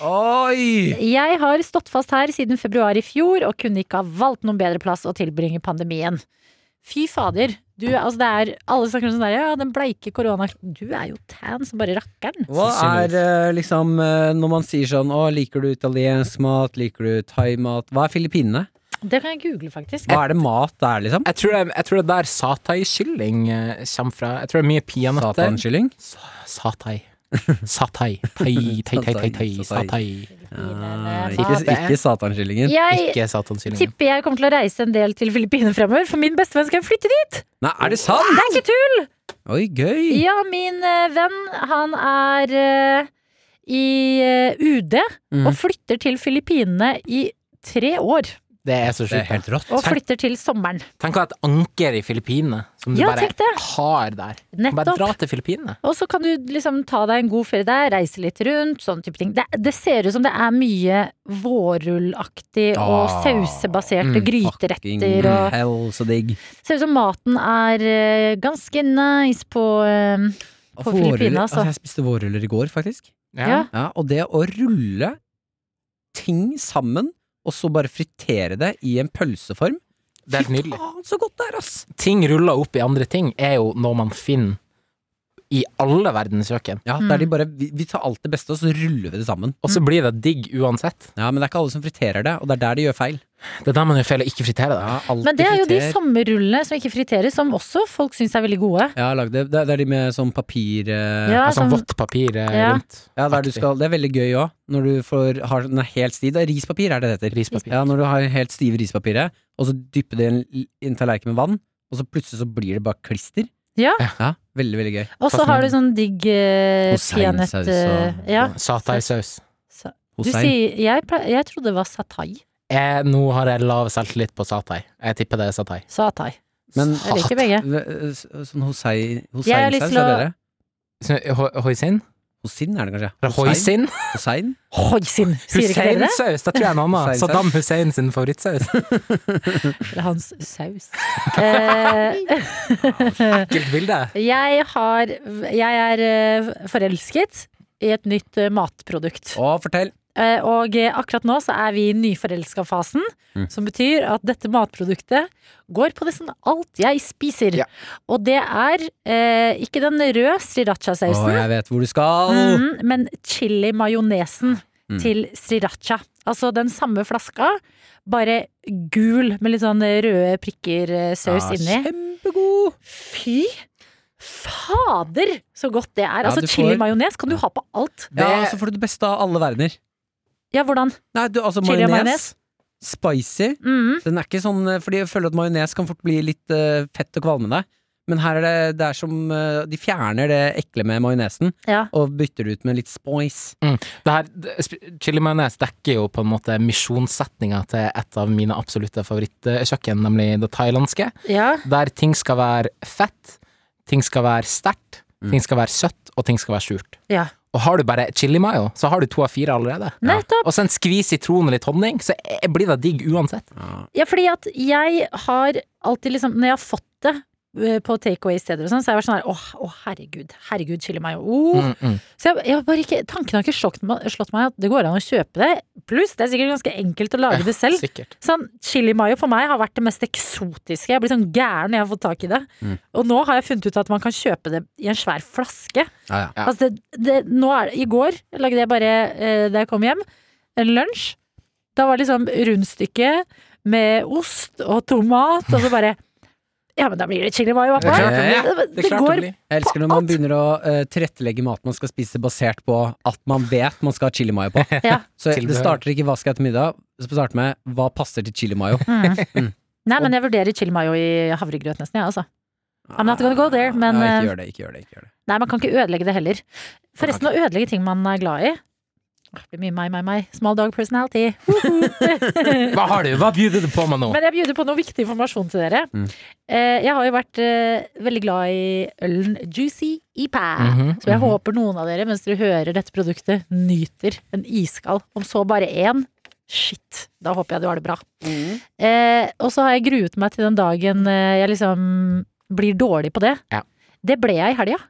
Speaker 2: Oi!
Speaker 4: Jeg har stått fast her siden februar i fjor og kunne ikke ha valgt noen bedre plass å tilbringe pandemien. Fy fader. Du, altså det er, alle snakker om sånn der, ja, den bleike korona... Du er jo tan som bare rakkeren.
Speaker 2: Hva er eh, liksom eh, Når man sier sånn Å, liker du italiensk mat? Liker du thaimat? Hva er Filippinene?
Speaker 4: Det kan jeg google, faktisk.
Speaker 2: Hva er det mat der, liksom?
Speaker 6: Jeg tror, det, jeg tror det er der satai-kylling eh, kommer fra. Jeg tror det er mye peanøtter.
Speaker 2: Satankylling?
Speaker 6: Satai. Satai. Tai, tai, tai, tai, tai. Satai.
Speaker 2: Ah,
Speaker 4: Filippinene.
Speaker 2: ikke
Speaker 6: det er-
Speaker 2: ikke satankyllingen.
Speaker 4: Jeg
Speaker 6: Ikke satankyllingen.
Speaker 4: tipper jeg kommer til å reise en del til Filippinene fremover, for min bestevenn skal flytte dit!
Speaker 2: Nei, er det sant?!
Speaker 4: Det er ikke tull!
Speaker 2: Oi, gøy!
Speaker 4: Ja, min eh, venn, han er eh, i eh, UD
Speaker 2: Mhm.
Speaker 4: og flytter til Filippinene i tre år.
Speaker 6: Det er så
Speaker 2: Det er
Speaker 6: sjukt.
Speaker 2: helt rått.
Speaker 4: Og flytter til sommeren.
Speaker 6: Tenk å ha et anker i Filippinene, som du
Speaker 4: Ja,
Speaker 6: bare
Speaker 4: tenk det.
Speaker 6: har der. Bare
Speaker 4: Nettopp.
Speaker 6: dra til Filippinene.
Speaker 4: Og så kan du liksom ta deg en god ferie der, reise litt rundt, sånne type ting. Det, det ser ut som det er mye vårrullaktig og
Speaker 2: Ah,
Speaker 4: sausebaserte
Speaker 6: mm,
Speaker 2: Fucking
Speaker 4: gryteretter og
Speaker 2: Hell, så digg.
Speaker 4: Ser ut som maten er eh, ganske nice på eh, På
Speaker 2: Vårruller-
Speaker 4: Filippinene, altså.
Speaker 2: Jeg spiste vårruller i går, faktisk.
Speaker 4: Ja.
Speaker 2: Ja, og det å rulle ting sammen, og så bare fritere det i en pølseform
Speaker 6: Det er helt nydelig.
Speaker 2: faen, så godt det er, ass!
Speaker 6: Ting ruller opp i andre ting er jo når man finner i alle verdens kjøkken.
Speaker 2: Ja,
Speaker 4: Mm.
Speaker 2: der de bare vi, vi tar alt det beste, og så ruller vi det sammen.
Speaker 6: Og så blir det digg uansett.
Speaker 2: Ja, Men det er ikke alle som friterer det, og det er der de gjør feil.
Speaker 6: Det er der man gjør feil å ikke fritere det.
Speaker 2: Ja, alt
Speaker 4: Men det er jo de
Speaker 2: friterer.
Speaker 4: sommerrullene som ikke friteres, som også folk syns er veldig gode.
Speaker 2: Ja, lag det. Det er- det er de med sånn papir eh,
Speaker 4: Ja,
Speaker 6: Med sånn
Speaker 4: sånn-
Speaker 6: vått papir eh,
Speaker 4: Ja.
Speaker 6: rundt.
Speaker 2: Ja, der du
Speaker 6: Aktig.
Speaker 2: skal, Det er veldig gøy òg, når du får, har den er helt stiv. Det er rispapir er det det heter.
Speaker 6: Rispapir.
Speaker 2: Ja, når du har helt stive rispapiret, og så dypper du i en, i en tallerken med vann, og så plutselig så blir det bare klister.
Speaker 4: Ja.
Speaker 2: Ja, Veldig, veldig gøy.
Speaker 4: Og så har
Speaker 2: altså,
Speaker 4: du sånn digg eh,
Speaker 2: Og seinsaus
Speaker 4: peanøtt
Speaker 2: og-
Speaker 4: eh, ja.
Speaker 6: Sataisaus.
Speaker 4: Sa- Du
Speaker 2: Hossein.
Speaker 4: sier, jeg, ple- jeg trodde det var satai.
Speaker 6: Jeg- Nå har jeg lav selvtillit på satai. Jeg tipper det er satai.
Speaker 4: Satai.
Speaker 2: Men
Speaker 4: Jeg liker begge.
Speaker 2: v- s- sånn hosei,
Speaker 4: Jeg har lyst
Speaker 2: hoseinsaus,
Speaker 4: til
Speaker 2: er
Speaker 4: å-
Speaker 2: det det?
Speaker 6: Så,
Speaker 4: eh,
Speaker 6: ho- Hoisin?
Speaker 2: Hosin er det kanskje?
Speaker 6: Eller Hoisin?
Speaker 2: Hosein?
Speaker 4: Hoisin, sier ikke dere det?
Speaker 6: Hussein-saus! Det tror jeg er en annen.
Speaker 2: Hussein-saus.
Speaker 6: Saddam Hussein sin favorittsaus.
Speaker 4: Eller hans saus. Eh,
Speaker 6: Ekkelt bilde.
Speaker 4: jeg har Jeg er eh, forelsket i et nytt eh, matprodukt.
Speaker 2: Å, fortell!
Speaker 4: Eh, Og eh, akkurat nå så er vi i nyforelska-fasen,
Speaker 2: Mm.
Speaker 4: som betyr at dette matproduktet går på nesten alt jeg spiser.
Speaker 6: Ja.
Speaker 4: Og det er eh, ikke den røde
Speaker 2: Å,
Speaker 4: sriracha-sausen,
Speaker 2: jeg vet hvor du skal!
Speaker 4: mm, men chili-majonesen
Speaker 2: Mm.
Speaker 4: til sriracha. Altså den samme flaska, bare gul med litt sånn røde prikker-saus
Speaker 2: Ja,
Speaker 4: inni.
Speaker 2: Kjempegod!
Speaker 4: Fy fader, så godt det er.
Speaker 2: Ja,
Speaker 4: altså
Speaker 2: du får-
Speaker 4: chili majones kan du ha på alt.
Speaker 2: Ja,
Speaker 6: Det-
Speaker 2: så får du det beste av alle verdener.
Speaker 4: Ja, hvordan?
Speaker 2: Nei, du, altså
Speaker 4: Chili og
Speaker 2: majones. Spicy.
Speaker 4: Mm.
Speaker 2: Den er ikke sånn, eh, fordi jeg føler at majones kan fort bli litt eh, fett og kvalmende. Men her er det, det er som eh, De fjerner det ekle med majonesen
Speaker 4: Ja.
Speaker 2: og bytter det ut med litt spice.
Speaker 6: Det her, det- sp- chili majones dekker jo på en måte misjonssetninga til et av mine absolutte favorittkjøkken, nemlig det thailandske.
Speaker 4: ja.
Speaker 6: Der ting skal være fett, ting skal være sterkt, ting skal være søtt, og ting skal være surt.
Speaker 4: Ja.
Speaker 6: Og har du bare chili mayo, så har du to av fire allerede.
Speaker 4: Nettopp.
Speaker 6: Og så en skvis sitron og litt honning, så eh, blir det digg uansett.
Speaker 4: Ja, fordi at jeg har alltid liksom Når jeg har fått det eh, på takeaway-steder og sånn, så har jeg vært sånn her åh, åh, herregud, herregud, chili mayo. Oh.
Speaker 6: Mm, mm.
Speaker 4: Så jeg, jeg har bare ikke, tanken har ikke slått, meg- slått meg at det går an å kjøpe det. Pluss, det er sikkert ganske enkelt å lage det selv.
Speaker 6: Sikkert.
Speaker 4: Sånn, Chili mayo for meg har vært det mest eksotiske. Jeg blir sånn gæren når jeg har fått tak i det.
Speaker 2: Mm.
Speaker 4: Og nå har jeg funnet ut at man kan kjøpe det i en svær flaske.
Speaker 2: Ja, ja.
Speaker 6: Ja.
Speaker 4: Altså det, det, nå er, I går lagde jeg bare, eh, da jeg kom hjem, en lunsj. Da var det liksom rundstykke med ost og tomat, og så bare Ja, men da blir det chili mayo.
Speaker 6: Det er klart det
Speaker 2: Ja,
Speaker 6: blir.
Speaker 4: Det,
Speaker 6: Det er klart
Speaker 4: går
Speaker 6: det blir.
Speaker 2: Jeg elsker når man begynner å eh, tilrettelegge maten man skal spise basert på at man vet man skal ha chili mayo på.
Speaker 4: ja.
Speaker 2: Så
Speaker 6: Tilbehør.
Speaker 2: det starter ikke hva skal jeg til middag, så starter med hva passer til chili mayo.
Speaker 4: Mm.
Speaker 6: Mm.
Speaker 4: Nei, men jeg vurderer chili mayo i havregrøt nesten, jeg, ja, altså. I'm not gonna go there, men,
Speaker 2: Nei, ikke
Speaker 4: eh,
Speaker 2: gjør det, ikke gjør det. Ikke gjør det.
Speaker 4: Nei, man kan ikke ødelegge det heller. Forresten, å ødelegge ting man er glad i Åh, Det blir mye meg, meg, meg. Small dog personality.
Speaker 6: Hva har du? Hva byr du på meg nå?
Speaker 4: Men jeg bjuder på noe viktig informasjon til dere.
Speaker 2: Mm.
Speaker 4: Eh, Jeg har jo vært eh, veldig glad i ølen Juicy E Ipa.
Speaker 6: Mhm,
Speaker 4: Så jeg
Speaker 6: mhm.
Speaker 4: håper noen av dere, mens dere hører dette produktet, nyter en iskald. Om så bare én. Shit, da håper jeg du har det bra.
Speaker 6: Mhm.
Speaker 4: Eh, og så har jeg gruet meg til den dagen eh, jeg liksom blir dårlig på det.
Speaker 6: Ja.
Speaker 4: Det ble jeg i helga.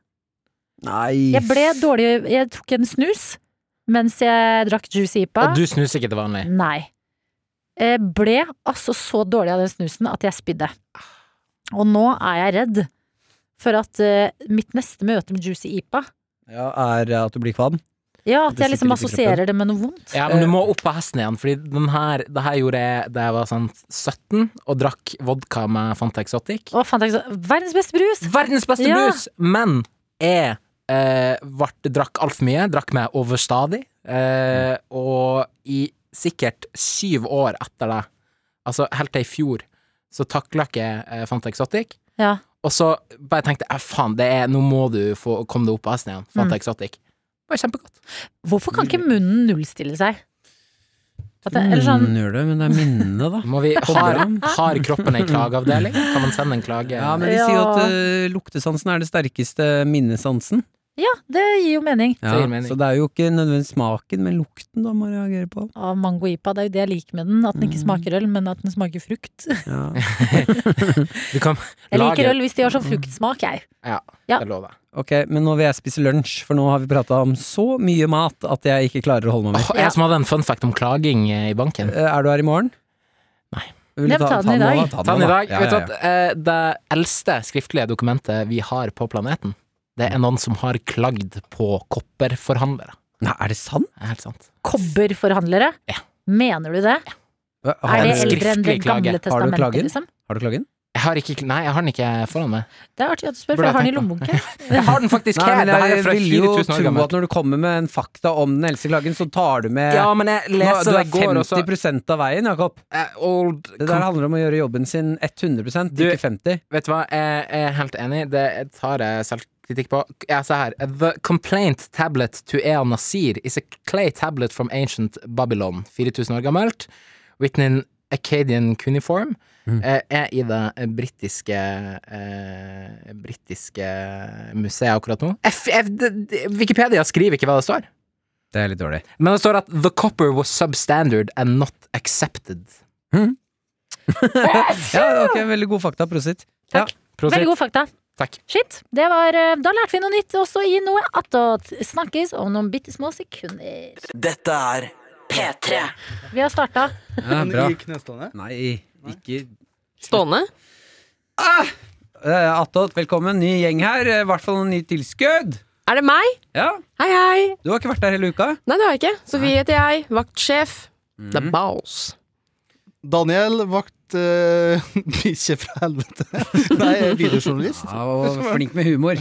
Speaker 4: Jeg ble dårlig Jeg tok en snus mens jeg drakk Juicy Ipa.
Speaker 6: Og du snuser ikke til vanlig?
Speaker 4: Nei. Jeg ble altså så dårlig av den snusen at jeg spydde.
Speaker 6: Ah.
Speaker 4: Og nå er jeg redd for at eh, mitt neste møte med Juicy Ipa
Speaker 2: Ja, er at du blir kvalm?
Speaker 4: Ja, at
Speaker 2: Det
Speaker 4: jeg liksom
Speaker 2: sitter litt i
Speaker 4: assosierer det med noe vondt.
Speaker 6: Ja, men du må opp på hesten igjen, Fordi den her, det her gjorde jeg da jeg var sånn 17 og drakk vodka med Fanta Exotic.
Speaker 4: Å, fant jeg ikke så Verdens beste brus!
Speaker 6: Verdens beste
Speaker 4: Ja.
Speaker 6: brus! Men jeg eh, vart, drakk altfor mye, drakk meg overstadig, eh, og i sikkert syv år etter det, altså helt til i fjor, så takla ikke jeg eh, Fanta Exotic.
Speaker 4: Ja.
Speaker 6: Og så bare tenkte jeg "Eh, faen, det er, nå må du få komme deg opp på hesten igjen. Fanta
Speaker 4: Mm.
Speaker 6: Exotic. Det var kjempegodt.
Speaker 4: Hvorfor kan ikke munnen nullstille seg? At det, eller sånn
Speaker 2: Mm, gjør det, men det er minnene, da.
Speaker 6: Må vi, har, har kroppen en klageavdeling? Kan man sende en klage?
Speaker 2: Ja, men de sier jo at
Speaker 4: Ja.
Speaker 2: eh, luktesansen er det sterkeste minnesansen.
Speaker 4: Ja, det gir jo mening.
Speaker 2: Ja,
Speaker 6: gir mening.
Speaker 2: så det er jo ikke nødvendigvis smaken, men lukten da man reagerer på.
Speaker 4: Av mango ipa, det er jo det jeg liker med den. At den ikke smaker øl, men at den smaker frukt.
Speaker 2: Ja.
Speaker 6: Du kan
Speaker 4: Jeg liker
Speaker 6: lage-
Speaker 4: øl hvis de har sånn fruktsmak, jeg.
Speaker 6: Ja,
Speaker 4: Ja.
Speaker 6: det lover jeg.
Speaker 2: Ok, men nå vil jeg spise lunsj, for nå har vi prata om så mye mat at jeg ikke klarer å holde meg med.
Speaker 6: Åh, jeg som hadde en fun fact om klaging eh, i banken.
Speaker 2: Eh, Er du her i morgen?
Speaker 6: Nei.
Speaker 2: Vil
Speaker 4: Nei,
Speaker 2: du
Speaker 4: ta den i
Speaker 2: nå,
Speaker 4: dag.
Speaker 2: da?
Speaker 6: Ta den i
Speaker 2: nå, da.
Speaker 6: dag.
Speaker 2: Ja,
Speaker 6: Vet du
Speaker 2: ja, ja.
Speaker 6: at eh, Det eldste skriftlige dokumentet vi har på planeten, det er noen som har klagd på kopperforhandlere.
Speaker 2: Nei, er det sant?
Speaker 6: Det er helt sant.
Speaker 4: Kobberforhandlere.
Speaker 6: Ja.
Speaker 4: Mener du det?
Speaker 2: Hva-
Speaker 4: Er
Speaker 2: Har
Speaker 4: det
Speaker 6: en
Speaker 2: du,
Speaker 4: eldre enn Det
Speaker 6: skriftlig klage.
Speaker 4: gamle
Speaker 2: Har du
Speaker 4: testamentet,
Speaker 2: klagen?
Speaker 4: liksom?
Speaker 2: har du klagen?
Speaker 6: Jeg har ikke Nei, jeg har den ikke foran meg.
Speaker 4: Det er artig at du spør, for
Speaker 6: Burde
Speaker 4: jeg har den i
Speaker 6: jeg
Speaker 4: lommeboken.
Speaker 6: Jeg har den faktisk
Speaker 2: Nei,
Speaker 6: her!
Speaker 2: men
Speaker 6: Det her er
Speaker 2: jeg
Speaker 6: fra
Speaker 2: vil jo
Speaker 6: 4000 år
Speaker 2: tro
Speaker 6: gammel.
Speaker 2: at når du kommer med en fakta om den eldste klagen, så tar du med
Speaker 6: Ja, men
Speaker 2: nå,
Speaker 6: jeg
Speaker 2: Du
Speaker 6: leser
Speaker 2: er
Speaker 6: det i går, og så
Speaker 2: 50 av veien, Jakob.
Speaker 6: Eh, Old
Speaker 2: Det der handler om å gjøre jobben sin 100
Speaker 6: Du-
Speaker 2: ikke 50
Speaker 6: Vet du hva, jeg er helt enig. Det tar jeg selvkritikk på. Jeg ser her. The complaint tablet to Ea Nasir is a clay tablet from ancient Babylon. 4000 år gammelt. Written in Acadian cuneiform. Eh, Er i det britiske eh, britiske museet akkurat nå. F F d d Wikipedia skriver ikke hva det står.
Speaker 2: Det er litt dårlig.
Speaker 6: Men det står at the copper was substandard and not accepted.
Speaker 2: Ja, ok, Veldig god fakta. Prosit.
Speaker 4: Takk. Veldig god fakta.
Speaker 6: Takk.
Speaker 4: Shit. Det var, eh, da lærte vi noe nytt også i noe attåt. Snakkes om noen bitte små sekunder.
Speaker 7: Dette er P3.
Speaker 4: Vi har starta.
Speaker 2: Ja,
Speaker 5: Men
Speaker 2: bra.
Speaker 5: i knestående?
Speaker 2: Nei, ikke Ah!
Speaker 8: Stående?
Speaker 2: Eh, Attåt, velkommen. Ny gjeng her. Eh, I hvert fall ny tilskudd.
Speaker 8: Er det meg?
Speaker 2: Ja,
Speaker 8: Hei, hei!
Speaker 2: Du har ikke vært der hele uka? Mhm.
Speaker 8: Nei, det har jeg ikke. Sofie heter jeg. Vaktsjef. The Bows.
Speaker 5: Daniel vakt eh, bikkje fra helvete. Nei, videojournalist.
Speaker 2: Ja, og flink med humor.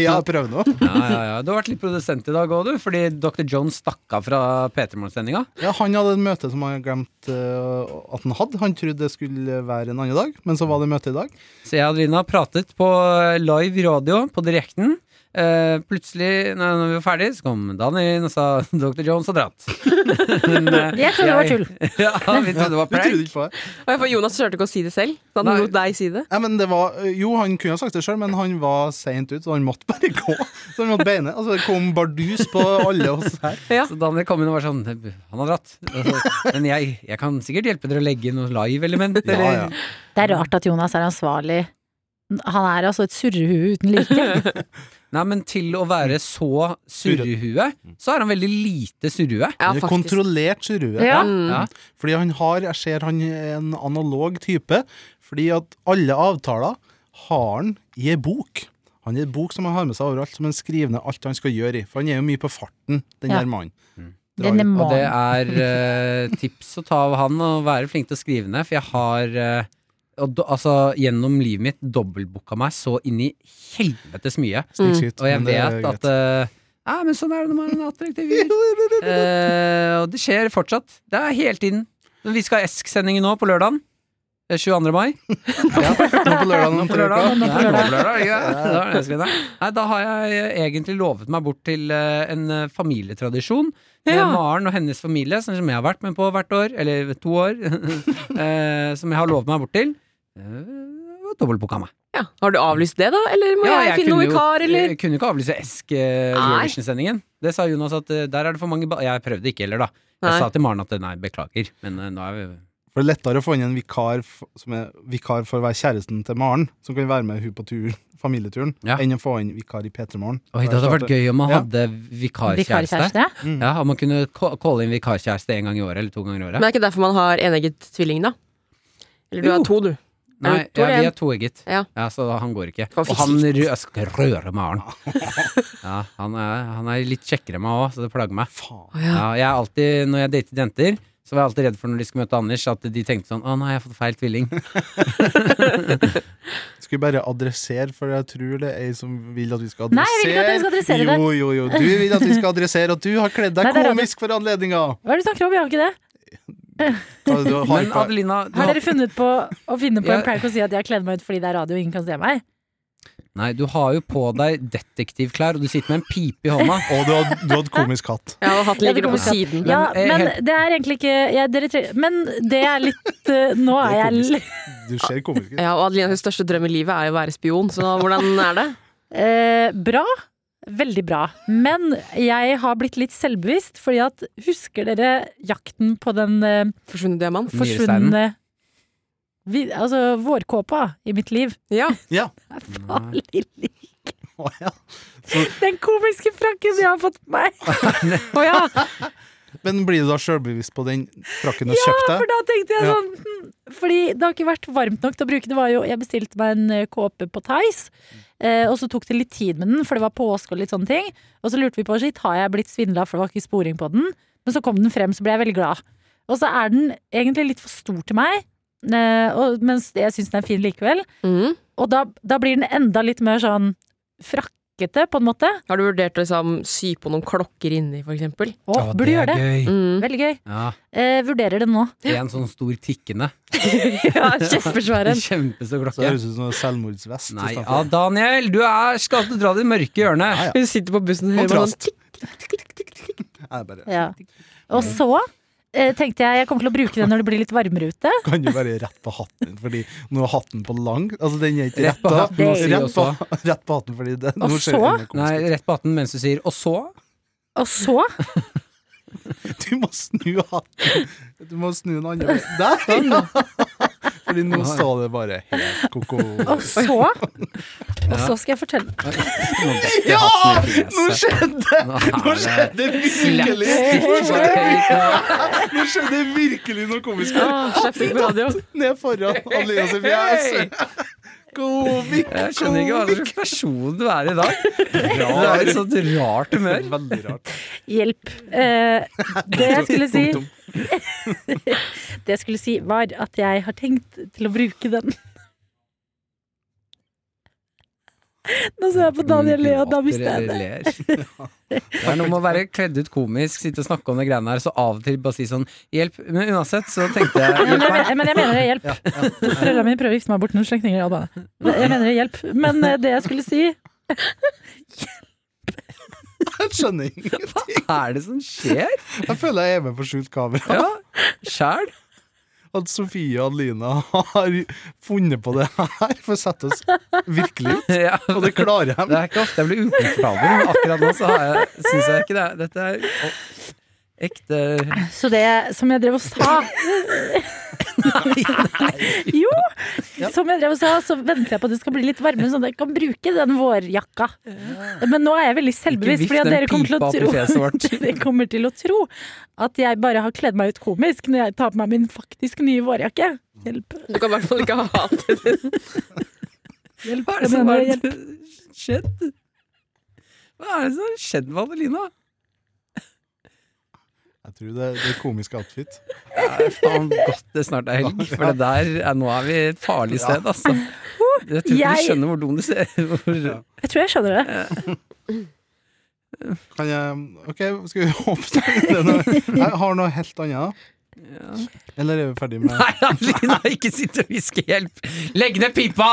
Speaker 5: Ja, prøv nå.
Speaker 2: Ja, ja, ja. Du har vært litt produsent i dag òg, du. Fordi Dr. Jones stakk av fra P3 Morgen-sendinga.
Speaker 5: Ja, han hadde et møte som han hadde glemt eh, at han hadde. Han trodde det skulle være en annen dag, men så var det møte i dag.
Speaker 2: Så jeg og Adelina har pratet på live radio på direkten. Eh, plutselig, nei, når vi var ferdig, så kom Daniel inn og sa Dr. Jones har dratt. Men, eh,
Speaker 4: Jeg trodde det var tull.
Speaker 2: Ja, vi trodde det var
Speaker 5: Du trodde
Speaker 2: prank.
Speaker 5: ikke på det.
Speaker 8: Og jeg får Jonas turte ikke å si det selv. Da han
Speaker 2: Nei.
Speaker 8: lot deg si det.
Speaker 5: Nei, men det var, eh, jo, han kunne ha sagt det sjøl, men han var seint ute, så han måtte bare gå. Så han måtte beine. Altså, det kom bardus på alle oss her.
Speaker 2: Så Daniel kom inn og var sånn Han har dratt. Altså, Men jeg, jeg kan sikkert hjelpe dere å legge inn noe live-element,
Speaker 5: Ja,
Speaker 2: eller
Speaker 5: ja.
Speaker 4: Det er rart at Jonas er ansvarlig. Han er altså et surrehue uten like.
Speaker 2: Nei, men til å være så surrehue, så er han veldig lite surrehue.
Speaker 8: Ja,
Speaker 5: Det er
Speaker 8: faktisk.
Speaker 5: Kontrollert surrue.
Speaker 4: Ja.
Speaker 8: Mm.
Speaker 2: Ja.
Speaker 5: Fordi han har, jeg ser han er en analog type, fordi at alle avtaler har han i ei bok. Han er en bok som han har med seg overalt, som han skriver ned alt han skal gjøre i. For han er jo mye på farten, den
Speaker 4: Ja.
Speaker 5: her mannen.
Speaker 4: Den er
Speaker 2: Og
Speaker 4: man.
Speaker 2: det er eh, tips å ta av han, og være flink til å skrive ned, for jeg har eh, og, do- altså, gjennom livet mitt dobbeltbooka meg så inn i helvetes mye.
Speaker 4: Mm.
Speaker 5: Snikskryt.
Speaker 2: Og jeg
Speaker 5: men det er
Speaker 2: vet at
Speaker 5: greit.
Speaker 2: eh, Ja, men sånn er det når man er en attraktiv fyr. Eh, og det skjer fortsatt. Det er hele tiden. Men vi skal ha Esk-sendingen nå på lørdagen. Det er 22. mai.
Speaker 5: Nå på lørdagen om
Speaker 2: På
Speaker 5: tre uker.
Speaker 2: lørdag. Nei, nå på lørdag, ja. Da er det Esk-sendingen. Nei, da har jeg eh, egentlig lovet meg bort til eh, en eh, familietradisjon. Med
Speaker 8: Ja.
Speaker 2: Maren og hennes familie, sånn som jeg har vært med på hvert år, eller to år. eh, som jeg har lovet meg bort til. Uh, Dobbeltbooka meg.
Speaker 8: Ja. Har du avlyst det, da? Eller må
Speaker 2: Ja,
Speaker 8: jeg, finne
Speaker 2: kunne
Speaker 8: noen
Speaker 2: jo-
Speaker 8: vikar, eller?
Speaker 2: Jeg kunne ikke avlyse Esk eh,
Speaker 8: Nei.
Speaker 2: Eurovision-sendingen. Det sa Jonas at eh, der er det for mange ba Jeg prøvde ikke heller, da. Jeg
Speaker 8: Nei.
Speaker 2: sa til Maren at eh, nei, beklager, men eh, nå er vi
Speaker 5: For det er lettere å få inn en vikar f- som er vikar for å være kjæresten til Maren, som kan være med hun på tur, familieturen,
Speaker 2: Ja.
Speaker 5: enn å få inn vikar i P3 Morgen.
Speaker 2: Oi, det hadde vært gøy om man
Speaker 5: Ja.
Speaker 2: hadde vikarkjæreste.
Speaker 4: Vikarkjæreste?
Speaker 2: Ja, Om man kunne ca- calle inn vikarkjæreste en gang i året, eller to ganger i
Speaker 8: Men
Speaker 2: året.
Speaker 8: det er ikke derfor man har enegget tvilling, da? Eller du
Speaker 2: Jo.
Speaker 8: har to, du.
Speaker 2: Nei,
Speaker 8: to
Speaker 2: ja,
Speaker 8: eller
Speaker 2: vi
Speaker 8: en?
Speaker 2: er toegget,
Speaker 8: Ja.
Speaker 2: ja, så da- han går ikke.
Speaker 8: Kan
Speaker 2: Og han
Speaker 8: fint.
Speaker 2: rø jeg skal ikke røre Maren. Ja, han er, han er litt kjekkere enn meg òg, så det plager meg.
Speaker 8: Å, ja.
Speaker 2: Ja, jeg er alltid, når jeg datet jenter, så var jeg alltid redd for når de skulle møte Anders, at de tenkte sånn Å nei, jeg har fått feil tvilling.
Speaker 5: Skal vi bare adressere, for jeg tror det er ei som vil at vi skal adressere.
Speaker 4: Nei, jeg vil ikke at dere skal adressere det.
Speaker 5: Jo, jo, jo. Du vil at vi skal adressere at du har kledd deg
Speaker 4: Nei, det er
Speaker 5: komisk for anledninga.
Speaker 4: Hva er det du snakker om? Jeg har ikke det.
Speaker 5: Ta det du har
Speaker 2: Men
Speaker 5: på-
Speaker 2: Adelina du
Speaker 4: Har
Speaker 2: har,
Speaker 4: dere funnet på å finne på
Speaker 2: Ja.
Speaker 4: en prank og si at jeg har kledd meg ut fordi det er radio og ingen kan se meg?
Speaker 2: Nei, du har jo på deg detektivklær, og du sitter med en pipe i hånda.
Speaker 5: Og du hadde, du hadde komisk hatt.
Speaker 8: Ja, og hatten
Speaker 4: Ja, det
Speaker 8: ligger du på
Speaker 4: kommer
Speaker 8: siden.
Speaker 4: Ja,
Speaker 2: eh,
Speaker 4: men
Speaker 2: helt-
Speaker 4: det er egentlig ikke jeg, dere tre, Men det er litt eh, Nå er jeg
Speaker 5: komisk.
Speaker 4: litt
Speaker 5: Du ser komisk ut.
Speaker 8: Ja, og Adelinas største drøm i livet er jo å være spion, så hvordan er det?
Speaker 4: Eh, bra. Veldig bra. Men jeg har blitt litt selvbevisst, fordi at Husker dere jakten på den eh,
Speaker 8: Forsvunnet diamant?
Speaker 2: Nyresteinen.
Speaker 4: forsvunne vi, Altså vårkåpa i mitt liv?
Speaker 8: Ja.
Speaker 5: Ja.
Speaker 4: Er farlig lik
Speaker 5: Å, ja.
Speaker 4: den komiske frakken jeg har fått på meg!
Speaker 8: Å ja!
Speaker 5: Men blir du da sjølbevisst på den frakken du kjøpte?
Speaker 4: For da tenkte jeg
Speaker 5: Ja.
Speaker 4: sånn hm, Fordi det har ikke vært varmt nok til å bruke Det var jo, jeg bestilte meg en eh, kåpe på Thais eh, Og så tok det litt tid med den For det var påske og litt sånne ting Og så lurte vi på, shit, har jeg blitt svindlet For det var ikke sporing på den Men så kom den frem, så ble jeg veldig glad Og så er den egentlig litt for stor til meg eh, og, Mens jeg synes den er fin likevel
Speaker 8: Mm.
Speaker 4: Og da, da blir den enda litt mer sånn Frakkete på en måte
Speaker 8: Har du vurdert å liksom, sy på noen klokker inni, for eksempel?
Speaker 4: Å,
Speaker 2: Ja,
Speaker 4: burde gjøre det
Speaker 2: Gøy.
Speaker 8: Mm.
Speaker 4: Veldig gøy
Speaker 2: Ja,
Speaker 4: eh, Vurderer det nå
Speaker 2: en sånn stor tikkende.
Speaker 8: Ja,
Speaker 2: En
Speaker 8: kjempesværen.
Speaker 2: kjempestor
Speaker 5: Så det
Speaker 2: klokke.
Speaker 5: høres ut som en selvmordsvest.
Speaker 2: Nei,
Speaker 5: i stedet
Speaker 2: ja,
Speaker 5: for.
Speaker 2: Daniel, du er, skal alltid dra det mørke hjørnet.
Speaker 5: Ja, ja.
Speaker 8: Hun sitter på bussen og hører bare sånn
Speaker 5: Kontrast.
Speaker 8: tikk,
Speaker 5: Nei, bare,
Speaker 4: Ja. Og så eh, tenkte jeg jeg kommer til å bruke det når det blir litt varmere ute.
Speaker 5: kan jo være rett på hatten, fordi nå er hatten på lang. Altså, den er ikke
Speaker 2: Rett på
Speaker 5: retta.
Speaker 2: hatten, må si
Speaker 5: Rett,
Speaker 2: også.
Speaker 5: på- rett på hatten, fordi det,
Speaker 4: Og
Speaker 5: nå ser
Speaker 4: så?
Speaker 5: det enda
Speaker 2: Nei,
Speaker 5: komisk ut.
Speaker 2: rett på hatten mens du sier 'og så'.
Speaker 4: Og så
Speaker 5: Du må snu hatten. Du må snu den andre veien. Der, ja! Fordi nå sa det bare helt ko-ko.
Speaker 4: Og så Og så skal jeg fortelle
Speaker 2: Nå detter hatten i fjeset.
Speaker 5: skjedde
Speaker 2: Nå er det
Speaker 5: det virkelig!
Speaker 2: slapstick på høyt nivå.
Speaker 5: Nå skjedde det virkelig noe komisk.
Speaker 8: «Åh, slapp deg på radio.
Speaker 5: Ned foran Adelina sin fjes. Komik,
Speaker 2: Jeg skjønner ikke hva slags person du er i dag. Du er i et sånt rart humør.
Speaker 5: Veldig rart.
Speaker 4: hjelp. Eh, det jeg skulle si Det jeg skulle si, var at jeg har tenkt til å bruke den. Nå ser jeg på Daniel le, og da mister jeg det.
Speaker 2: Ler. Det er noe med å være kledd ut komisk, sitte og snakke om de greiene her, så av og til bare si sånn 'hjelp'. Men uansett så tenkte jeg
Speaker 4: Ja, Men
Speaker 2: hjelp meg.
Speaker 4: jeg, men- men jeg mener det, hjelp. Foreldrene mine prøver å gifte meg bort noen slektninger. ja da. Jeg mener det, hjelp. Men eh, det jeg skulle si
Speaker 5: Jeg skjønner ingenting.
Speaker 2: Hva er det som skjer?
Speaker 5: Jeg føler jeg er med på skjult kamera.
Speaker 2: Ja, sjæl.
Speaker 5: At Sofie og Adelina har funnet på det her for å sette oss virkelig ut.
Speaker 2: Ja.
Speaker 5: Og det klarer
Speaker 2: Det
Speaker 5: de.
Speaker 2: er ikke ofte jeg blir ukomfortabel, men akkurat nå så har jeg- syns jeg ikke det. er- Dette er å, ekte
Speaker 4: Så det som jeg drev og sa Jo! Som jeg drev og sa, så venter jeg på at det skal bli litt varmere, sånn at jeg kan bruke den vårjakka. Men nå er jeg veldig selvbevisst,
Speaker 2: Ikke vift
Speaker 4: fordi at
Speaker 2: den
Speaker 4: dere kommer til å
Speaker 2: pipa opp i fjeset
Speaker 4: tro
Speaker 2: vårt.
Speaker 4: Dere kommer til å tro at jeg bare har kledd meg ut komisk når jeg tar på meg min faktisk nye vårjakke. Hjelp.
Speaker 8: sånn- Du kan i hvert fall ikke ha hatet ditt.
Speaker 4: hjelp.
Speaker 2: Hva er
Speaker 4: Jeg
Speaker 2: det som
Speaker 4: mener,
Speaker 2: har
Speaker 4: Sånn hjelp.
Speaker 2: skjedd? Hva er det som har skjedd med Adelina?
Speaker 5: Jeg tror det, det er komisk outfit.
Speaker 2: Det er faen godt det snart er helg, for det der er, nå er vi et farlig sted, altså. Jeg tror ikke
Speaker 4: Jeg-
Speaker 2: du skjønner hvor dum du ser hvor...
Speaker 4: Jeg tror jeg skjønner det.
Speaker 5: Kan jeg OK, skal vi hoppe til det nå? Jeg har noe helt annet. Eller er vi ferdig med
Speaker 2: Nei, Adelina, ikke sitt og hvisk hjelp! Legg ned pipa!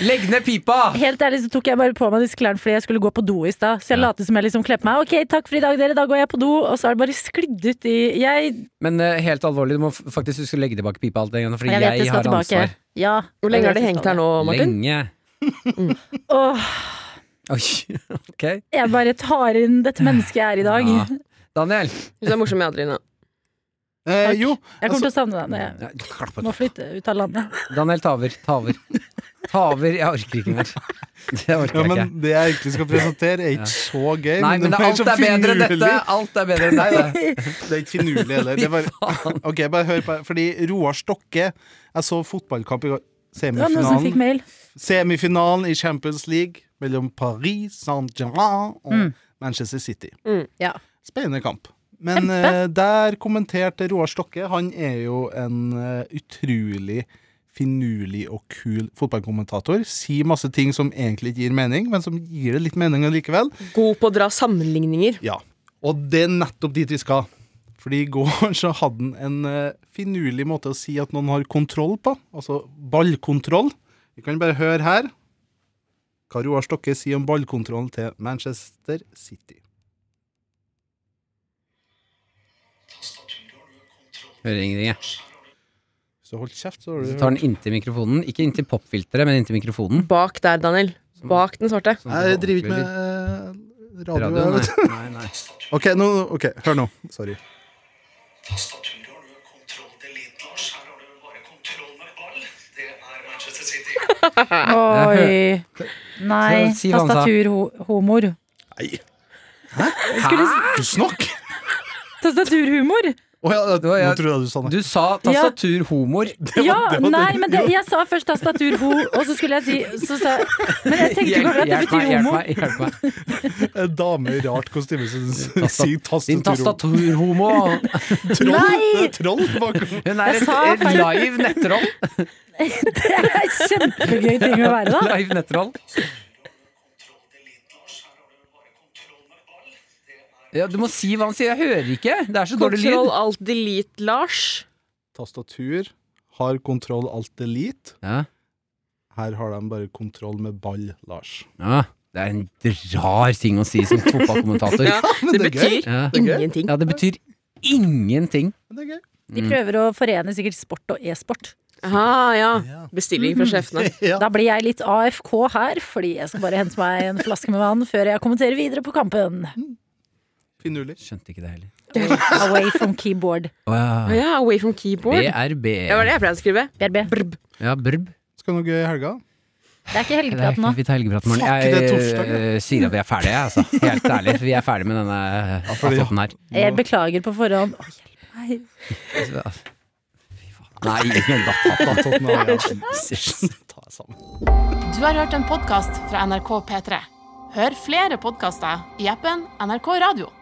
Speaker 2: Legg ned pipa!
Speaker 4: Helt ærlig så tok jeg bare på meg disse klærne fordi jeg skulle gå på do i stad. Så jeg lot som jeg liksom kledde meg. Ok, takk for i dag, dere. Da går jeg på do. Og så har det bare sklidd ut i Jeg,
Speaker 2: Men eh, helt alvorlig, du må f- faktisk huske å legge tilbake pipa alt det igjen, fordi
Speaker 4: jeg
Speaker 2: jeg,
Speaker 4: vet det skal
Speaker 2: har
Speaker 4: tilbake.
Speaker 2: ansvar.
Speaker 4: Ja.
Speaker 8: Hvor lenge har de hengt her nå, Martin?
Speaker 2: Lenge.
Speaker 4: Åh,
Speaker 2: Oi, ok.
Speaker 4: jeg bare tar inn dette mennesket jeg er i dag.
Speaker 2: Ja. Daniel.
Speaker 8: Du er morsom med Adelina.
Speaker 5: eh, Jo,
Speaker 4: Jeg kommer til å
Speaker 2: Altså-
Speaker 4: savne deg når jeg
Speaker 2: Ja, klapp på
Speaker 4: må flytte ut av landet.
Speaker 2: Daniel Taver. Taver. Taver, jeg orker ikke mer. Det orker
Speaker 5: ja,
Speaker 2: jeg
Speaker 5: men
Speaker 2: ikke.
Speaker 5: det jeg egentlig skal presentere, er
Speaker 2: Ja.
Speaker 5: ikke så gøy.
Speaker 2: Nei, men det,
Speaker 5: mer
Speaker 2: alt
Speaker 5: så
Speaker 2: er bedre enn dette!
Speaker 5: finurlig.
Speaker 2: Alt er bedre enn deg, det.
Speaker 5: Det er ikke finurlig heller. Det er bare, ok, bare hør på Fordi Roar Stokke Jeg så fotballkamp i går.
Speaker 4: Det var noen som fikk
Speaker 5: Semifinalen.
Speaker 4: mail.
Speaker 5: Semifinalen i Champions League mellom Paris Saint-Germain og
Speaker 4: Mm.
Speaker 5: Manchester City.
Speaker 8: Mm,
Speaker 4: ja.
Speaker 5: Spennende kamp. Men eh, der kommenterte Roar Stokke. Han er jo en eh, utrolig finurlig og kul fotballkommentator. Sier masse ting som egentlig ikke gir mening, men som gir det litt mening allikevel.
Speaker 8: God på å dra sammenligninger.
Speaker 5: Ja, og det er nettopp dit vi skal. Fordi i går så hadde han en eh, finurlig måte å si at noen har kontroll på, altså ballkontroll. Vi kan bare høre her hva Roar Stokke sier om ballkontrollen til Manchester City.
Speaker 2: Hører ingenting, jeg.
Speaker 5: Så hold kjeft, så har du
Speaker 2: Så tar den inntil mikrofonen. Ikke inntil popfilteret, men inntil mikrofonen.
Speaker 8: Bak der, Daniel. Bak den svarte.
Speaker 2: Sånn at
Speaker 5: Jeg
Speaker 2: det
Speaker 5: driver ikke
Speaker 2: overfører
Speaker 5: med eh, radio. jeg
Speaker 2: radioen.
Speaker 5: vet.
Speaker 2: Nei, nei, nei.
Speaker 5: Ok, nå, ok, hør nå. Sorry.
Speaker 9: Tastaturet har du kontroll til liten Lars. Her har du bare kontroll med ball. Det er Manchester City.
Speaker 4: Oi. Nei.
Speaker 2: Si hva han sa.
Speaker 4: Tastaturhomor.
Speaker 5: Snakk!
Speaker 4: Tastaturhumor?
Speaker 5: Å ja,
Speaker 2: Det var-
Speaker 5: nå
Speaker 2: jeg-
Speaker 5: tror jeg du sa det.
Speaker 2: Du sa tastaturhomor.
Speaker 4: Ja,
Speaker 5: det var det.
Speaker 4: nei, men det, jeg sa først tastaturho, og så skulle jeg si så sa, Men jeg tenkte
Speaker 2: Hjelp
Speaker 4: bare at det
Speaker 2: hjelp meg,
Speaker 4: betyr
Speaker 2: hjelp
Speaker 4: homo.
Speaker 2: meg. Hjelp meg.
Speaker 5: En dame i rart kostyme som sier
Speaker 2: Din
Speaker 5: tastatur.
Speaker 2: tastaturhomo.
Speaker 5: Troll! Det er troll bakom.
Speaker 2: Hun er
Speaker 4: Jeg
Speaker 2: et,
Speaker 4: sa
Speaker 2: et
Speaker 4: feil.
Speaker 2: live nettroll.
Speaker 4: Det er kjempegøy ting å være, da.
Speaker 2: Live nettroll. Ja, du må si hva han sier. Jeg hører ikke. Det er så dårlig
Speaker 8: Kontroll
Speaker 2: lyd.
Speaker 8: alt delete, Lars.
Speaker 5: Tastatur har kontroll alt delete.
Speaker 2: Ja.
Speaker 5: Her har de bare kontroll med ball, Lars.
Speaker 2: Ja. Det er en rar ting å si som fotballkommentator.
Speaker 8: Ja, det
Speaker 5: det er gøy.
Speaker 8: betyr
Speaker 2: Ja.
Speaker 5: Det er gøy.
Speaker 8: ingenting.
Speaker 2: ja, det betyr ingenting.
Speaker 5: Men det er gøy.
Speaker 4: De prøver å forene sikkert sport og e-sport.
Speaker 8: Ah, ja. Bestilling fra sjefene.
Speaker 5: Ja.
Speaker 4: Da blir jeg litt AFK her, fordi jeg skal bare hente meg en flaske med vann før jeg kommenterer videre på kampen.
Speaker 5: Finurlig.
Speaker 2: Skjønte ikke det heller.
Speaker 4: Away from keyboard.
Speaker 8: Ah, ja, away from keyboard. Ja,
Speaker 2: BRB.
Speaker 8: Det var det jeg pleide å skrive.
Speaker 4: BRB.
Speaker 2: E. Ja, brb.
Speaker 5: Skal du ha noe gøy i helga?
Speaker 4: Det er ikke
Speaker 2: Det er
Speaker 4: helgeprat
Speaker 2: ikke
Speaker 4: nå.
Speaker 2: vi tar helgeprat i morgen.
Speaker 5: Fuck, det er torsdag,
Speaker 2: Jeg eh, sier at vi er ferdige, jeg, altså. Helt ærlig. Vi er ferdige med denne
Speaker 5: fordi-
Speaker 2: aften her.
Speaker 4: Jeg beklager på forhånd. Å, hjelp meg.
Speaker 2: Nei, men da
Speaker 5: Da tatt den av, ja. Ta deg sammen.
Speaker 1: Du har hørt en podkast fra NRK P3. Hør flere podkaster i appen NRK Radio.